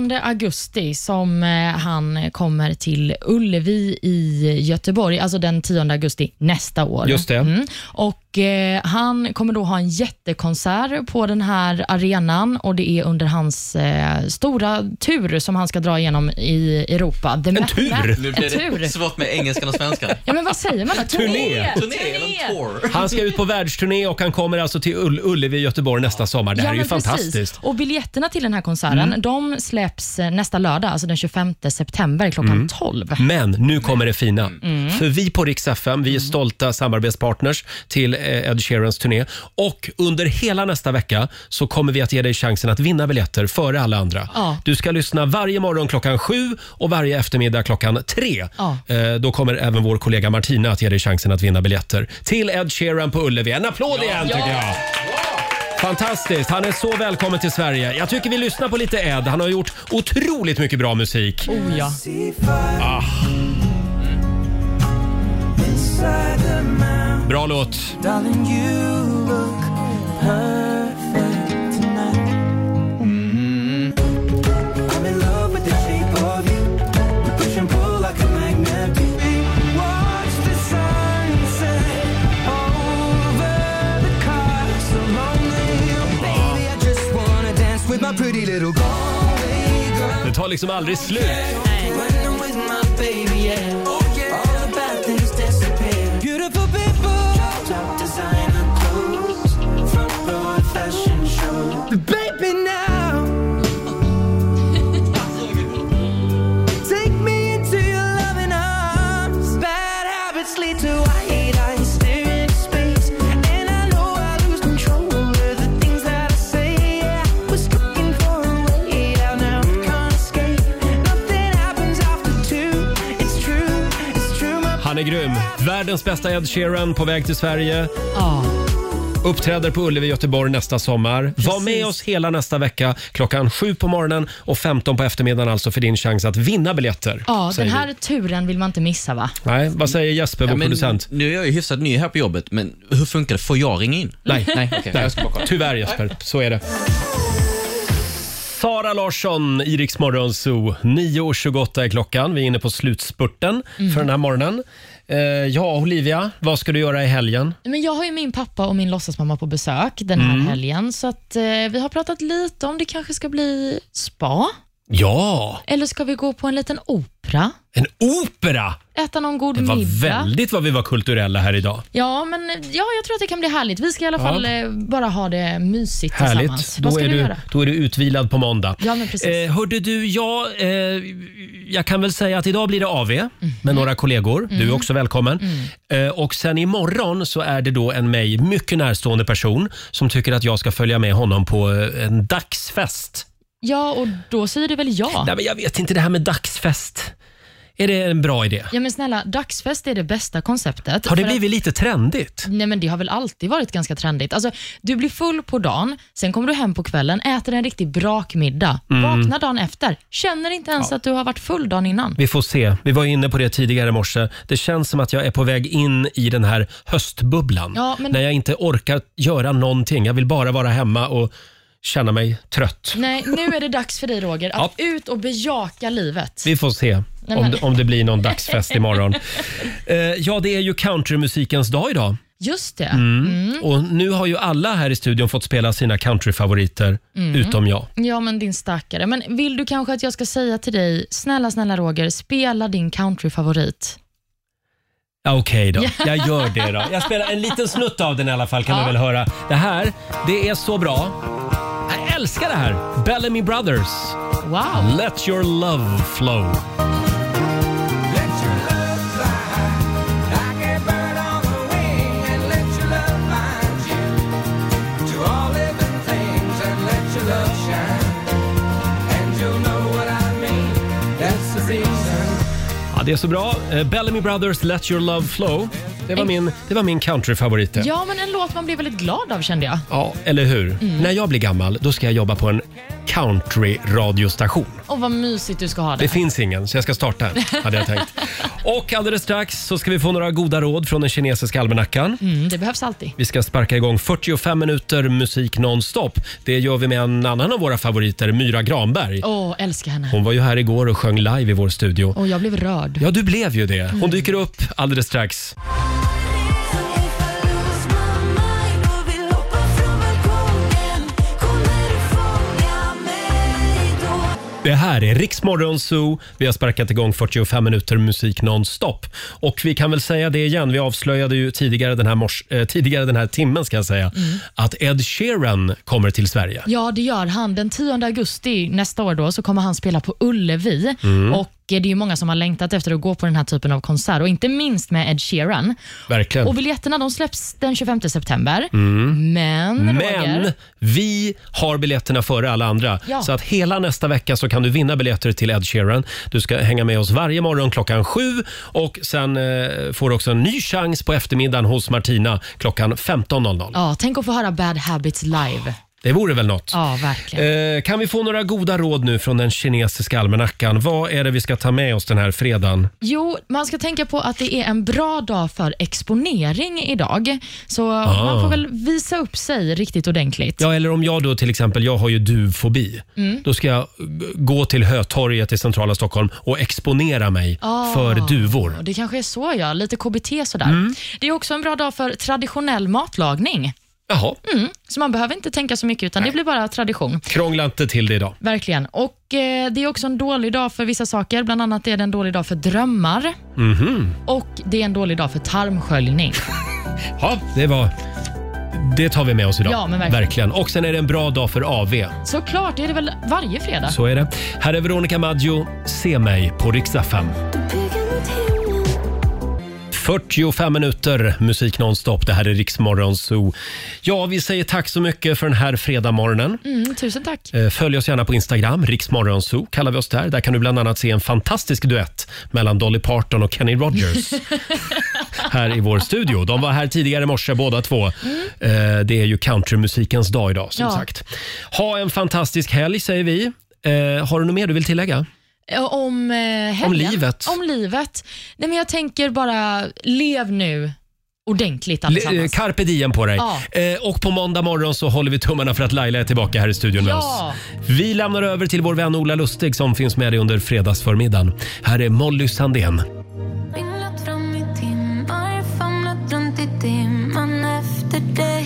S3: 10 augusti som eh, han kommer till Ullevi i Göteborg, alltså den 10 augusti nästa år. Mm.
S1: Just det.
S3: Och eh, Han kommer då ha en jättekonsert på den här arenan och det är under hans eh, stora tur som han ska dra igenom i Europa. The Ma- Ma-
S19: Nu
S3: En
S19: blir
S3: tur.
S19: det svårt med engelskan och svenskan.
S3: Ja, men vad säger man då?
S1: Turné.
S19: Turné, eller tour.
S1: Han ska ut på världsturné och han kommer alltså till Ull- Ullevi i Göteborg nästa sommar. Det här
S3: Ja,
S1: är ju
S3: men precis.
S1: fantastiskt.
S3: Och biljetterna till den här konserten
S1: Mm.
S3: de släpps eh, nästa lördag, alltså den 25 september klockan
S1: Mm.
S3: 12.
S1: Men nu kommer det fina.
S3: Mm.
S1: För vi på Rix FM,
S2: Mm.
S1: vi är stolta samarbetspartners till eh, Ed Sheerans turné. Och under hela nästa vecka så kommer vi att ge dig chansen att vinna biljetter före alla andra.
S2: Ja.
S1: Du ska lyssna varje morgon klockan sju och varje eftermiddag klockan tre.
S2: Ja.
S1: Eh, Då kommer även vår kollega Martina att ge dig chansen att vinna biljetter till Ed Sheeran på Ullevi. En applåd igen
S2: Ja.
S1: tycker jag! Fantastiskt! Han är så välkommen till Sverige. Jag tycker vi lyssnar på lite Ed. Han har gjort otroligt mycket bra musik.
S2: Oh ja.
S1: Ah, bra låt.
S2: Darling, you look perfect tonight. Mm. I'm in love with the shape of you. We push and pull like a magnet. do. Watch the sunset over the cars. So lonely. Baby, I just wanna dance with my pretty little Galway girl.
S1: Det tar liksom aldrig slut.
S2: When I'm with my baby, yeah. All the bad things disappear. Beautiful people. Top designer clothes. Front row at fashion shows. Baby, now. Take me into your loving arms. Bad habits lead to white eyes staring at space. And I know I lose control of the things that I say. Yeah, was looking for a way out now. Can't escape. Nothing happens after two. It's true. It's true. My
S1: Han är grym. Världens bästa Ed Sheeran på väg till Sverige.
S3: Ja.
S1: Uppträder på Ullevi i Göteborg nästa sommar. Var med oss hela nästa vecka klockan 7 på morgonen och 15 på eftermiddagen alltså för din chans att vinna biljetter.
S3: Ja, den
S1: säger
S3: här
S1: vi.
S3: turen vill man inte missa va?
S1: Nej, vad säger Jesper, vår
S19: men
S1: producent?
S19: Nu är jag ju hyfsat ny här på jobbet, men hur funkar det? Får jag ringa in?
S1: Nej,
S19: Nej, okej. Jag ska bara kolla.
S1: tyvärr Jesper. Så är det. Sara Larsson, Iriks morgonzoo. 9.28 är klockan. Vi är inne på slutspurten
S3: Mm.
S1: för den här morgonen. Eh, ja, Olivia, vad ska du göra i helgen?
S3: Men jag har ju min pappa och min låtsasmamma på besök den här
S1: Mm.
S3: helgen, så att, eh, vi har pratat lite om det kanske ska bli spa,
S1: Ja,
S3: eller ska vi gå på en liten opera?
S1: en opera!
S3: Äta någon god
S1: Det var
S3: middag?
S1: väldigt vad vi var kulturella här idag.
S3: Ja, men ja, jag tror att det kan bli härligt. Vi ska i alla
S1: Ja.
S3: fall eh, bara ha det mysigt
S1: Härligt.
S3: tillsammans. Vad
S1: Då
S3: ska
S1: är,
S3: du
S1: du,
S3: göra?
S1: då är du utvilad på måndag.
S3: Ja, men precis.
S1: Eh, hörde du, jag, eh, jag kan väl säga att idag blir det AV
S3: Mm.
S1: med några kollegor. Du är
S2: Mm.
S1: också välkommen. Eh, och sen imorgon så är det då en mig mycket närstående person som tycker att jag ska följa med honom på eh, en dagsfest.
S3: Ja, och då säger du väl ja?
S1: Nej, men jag vet inte, det här med dagsfest. Är det en bra idé?
S3: Ja men snälla, dagsfest är det bästa konceptet.
S1: Har det
S3: För att-
S1: blivit lite trendigt?
S3: Nej men det har väl alltid varit ganska trendigt. Alltså, du blir full på dagen, sen kommer du hem på kvällen, äter en riktig brakmiddag,
S1: Mm.
S3: vaknar dagen efter, känner inte ens att du har varit full dagen innan.
S1: Vi får se. Vi var inne på det tidigare i morse. Det känns som att jag är på väg in i den här höstbubblan.
S3: Ja, men-
S1: När jag inte orkar göra någonting. Jag vill bara vara hemma och känna mig trött.
S3: Nej, nu är det dags för dig Roger att ut och bejaka livet.
S1: Vi får se
S3: men-
S1: om, det, om det blir någon dagsfest imorgon. Eh, ja, det är ju countrymusikens dag idag.
S3: Just det.
S1: Mm. Och nu har ju alla här i studion fått spela sina countryfavoriter,
S3: Mm.
S1: utom jag.
S3: Ja, men din stackare. Men vill du kanske att jag ska säga till dig, snälla, snälla Roger, spela din countryfavorit.
S1: Ja, Okej då, jag gör det då. Jag spelar en liten snutt av den i alla fall kan
S3: Ja.
S1: du väl höra. Det här, det är så bra. Jag älskar det här. Bellamy Brothers.
S3: Wow.
S1: Let your love flow. Ja, det är så bra. Eh, Bellamy Brothers Let your love flow. Det var min, det var min countryfavorit. det.
S3: Ja, men en låt man blir väldigt glad av kände jag.
S1: Ja, eller hur?
S3: Mm.
S1: När jag blir gammal, då ska jag jobba på en country-radiostation.
S3: Och vad mysigt du ska ha det.
S1: Det finns ingen, så jag ska starta en, hade jag tänkt. Och alldeles strax så ska vi få några goda råd från den kinesiska almanackan.
S3: Mm, det behövs alltid.
S1: Vi ska sparka igång 45 minuter musik nonstop. Det gör vi med en annan av våra favoriter, Myra Granberg.
S3: Åh, älskar henne.
S1: Hon var ju här igår och sjöng live i vår studio.
S3: Och jag blev rörd.
S1: Ja, du blev ju det. Hon
S3: Mm.
S1: dyker upp alldeles strax. Det här är Riksmorgon Zoo. Vi har sparkat igång 45 minuter musik nonstop. Och vi kan väl säga det igen, vi avslöjade ju tidigare den här, mors- eh, tidigare den här timmen ska jag säga, att Ed Sheeran kommer till Sverige.
S3: Ja, det gör han. Den 10 augusti nästa år då, så kommer han spela på Ullevi.
S1: Mm.
S3: Och eh, det är ju många som har längtat efter att gå på den här typen av konsert, och inte minst med Ed Sheeran.
S1: Verkligen.
S3: Och biljetterna de släpps den 25 september.
S1: Mm.
S3: Men,
S1: Men
S3: Roger,
S1: vi har biljetterna före alla andra.
S3: Ja.
S1: Så att hela nästa vecka så kan du vinna biljetter till Ed Sheeran. Du ska hänga med oss varje morgon klockan sju och sen eh, får du också en ny chans på eftermiddagen hos Martina klockan 15.00.
S3: ja, tänk att få höra Bad Habits live.
S1: Det vore väl något?
S3: Ja, verkligen.
S1: Eh, kan vi få några goda råd nu från den kinesiska almanackan? Vad är det vi ska ta med oss den här fredagen?
S3: Jo, man ska tänka på att det är en bra dag för exponering idag. Så
S1: Ah.
S3: man får väl visa upp sig riktigt ordentligt.
S1: Ja, eller om jag då till exempel, jag har ju duvfobi.
S3: Mm.
S1: Då ska jag g- gå till Hötorget i centrala Stockholm och exponera mig
S3: Ah.
S1: för duvor.
S3: Det kanske är så, ja. Lite KBT sådär.
S1: Mm.
S3: Det är också en bra dag för traditionell matlagning.
S1: Jaha,
S3: Mm. Så man behöver inte tänka så mycket, utan det blir bara tradition.
S1: krångla inte till det idag.
S3: Verkligen. Och eh, Det är också en dålig dag för vissa saker. Bland annat är det en dålig dag för drömmar
S1: Mhm.
S3: och det är en dålig dag för tarmsköljning.
S1: Ja, det var... Det tar vi med oss idag.
S3: Ja, men verkligen.
S1: Och sen är det en bra dag för AV.
S3: Såklart, det är det väl varje fredag?
S1: Så är det. Här är Veronica Maggio. Se mig på riksdag 5. 45 minuter musik nonstop. Det här är Riksmorgon Zoo. Ja, vi säger tack så mycket för den här fredagmorgonen.
S3: Mm, tusen tack.
S1: Eh, Följ oss gärna på Instagram, Riksmorgonzoo kallar vi oss där. Där kan du bland annat se en fantastisk duett mellan Dolly Parton och Kenny Rogers här i vår studio. De var här tidigare i morse båda två. Eh, Det är ju countrymusikens dag idag som
S3: Mm. Ja.
S1: sagt. Ha en fantastisk helg säger vi. Eh, Har du något mer du vill tillägga?
S3: Eh, Om eh, helgen.
S1: Om livet.
S3: Om livet. Nej, men jag tänker bara, lev nu ordentligt
S1: Le- eh,
S3: allesammans.
S1: Carpe diem på dig.
S3: Ja.
S1: Eh, Och på måndag morgon så håller vi tummarna för att Laila är tillbaka här i studion med
S3: Ja.
S1: oss. Vi lämnar över till vår vän Ola Lustig som finns med dig under fredagsförmiddagen. Här är Molly Sandén.
S7: Ringlat fram i timmar, famlat runt i dimman efter dig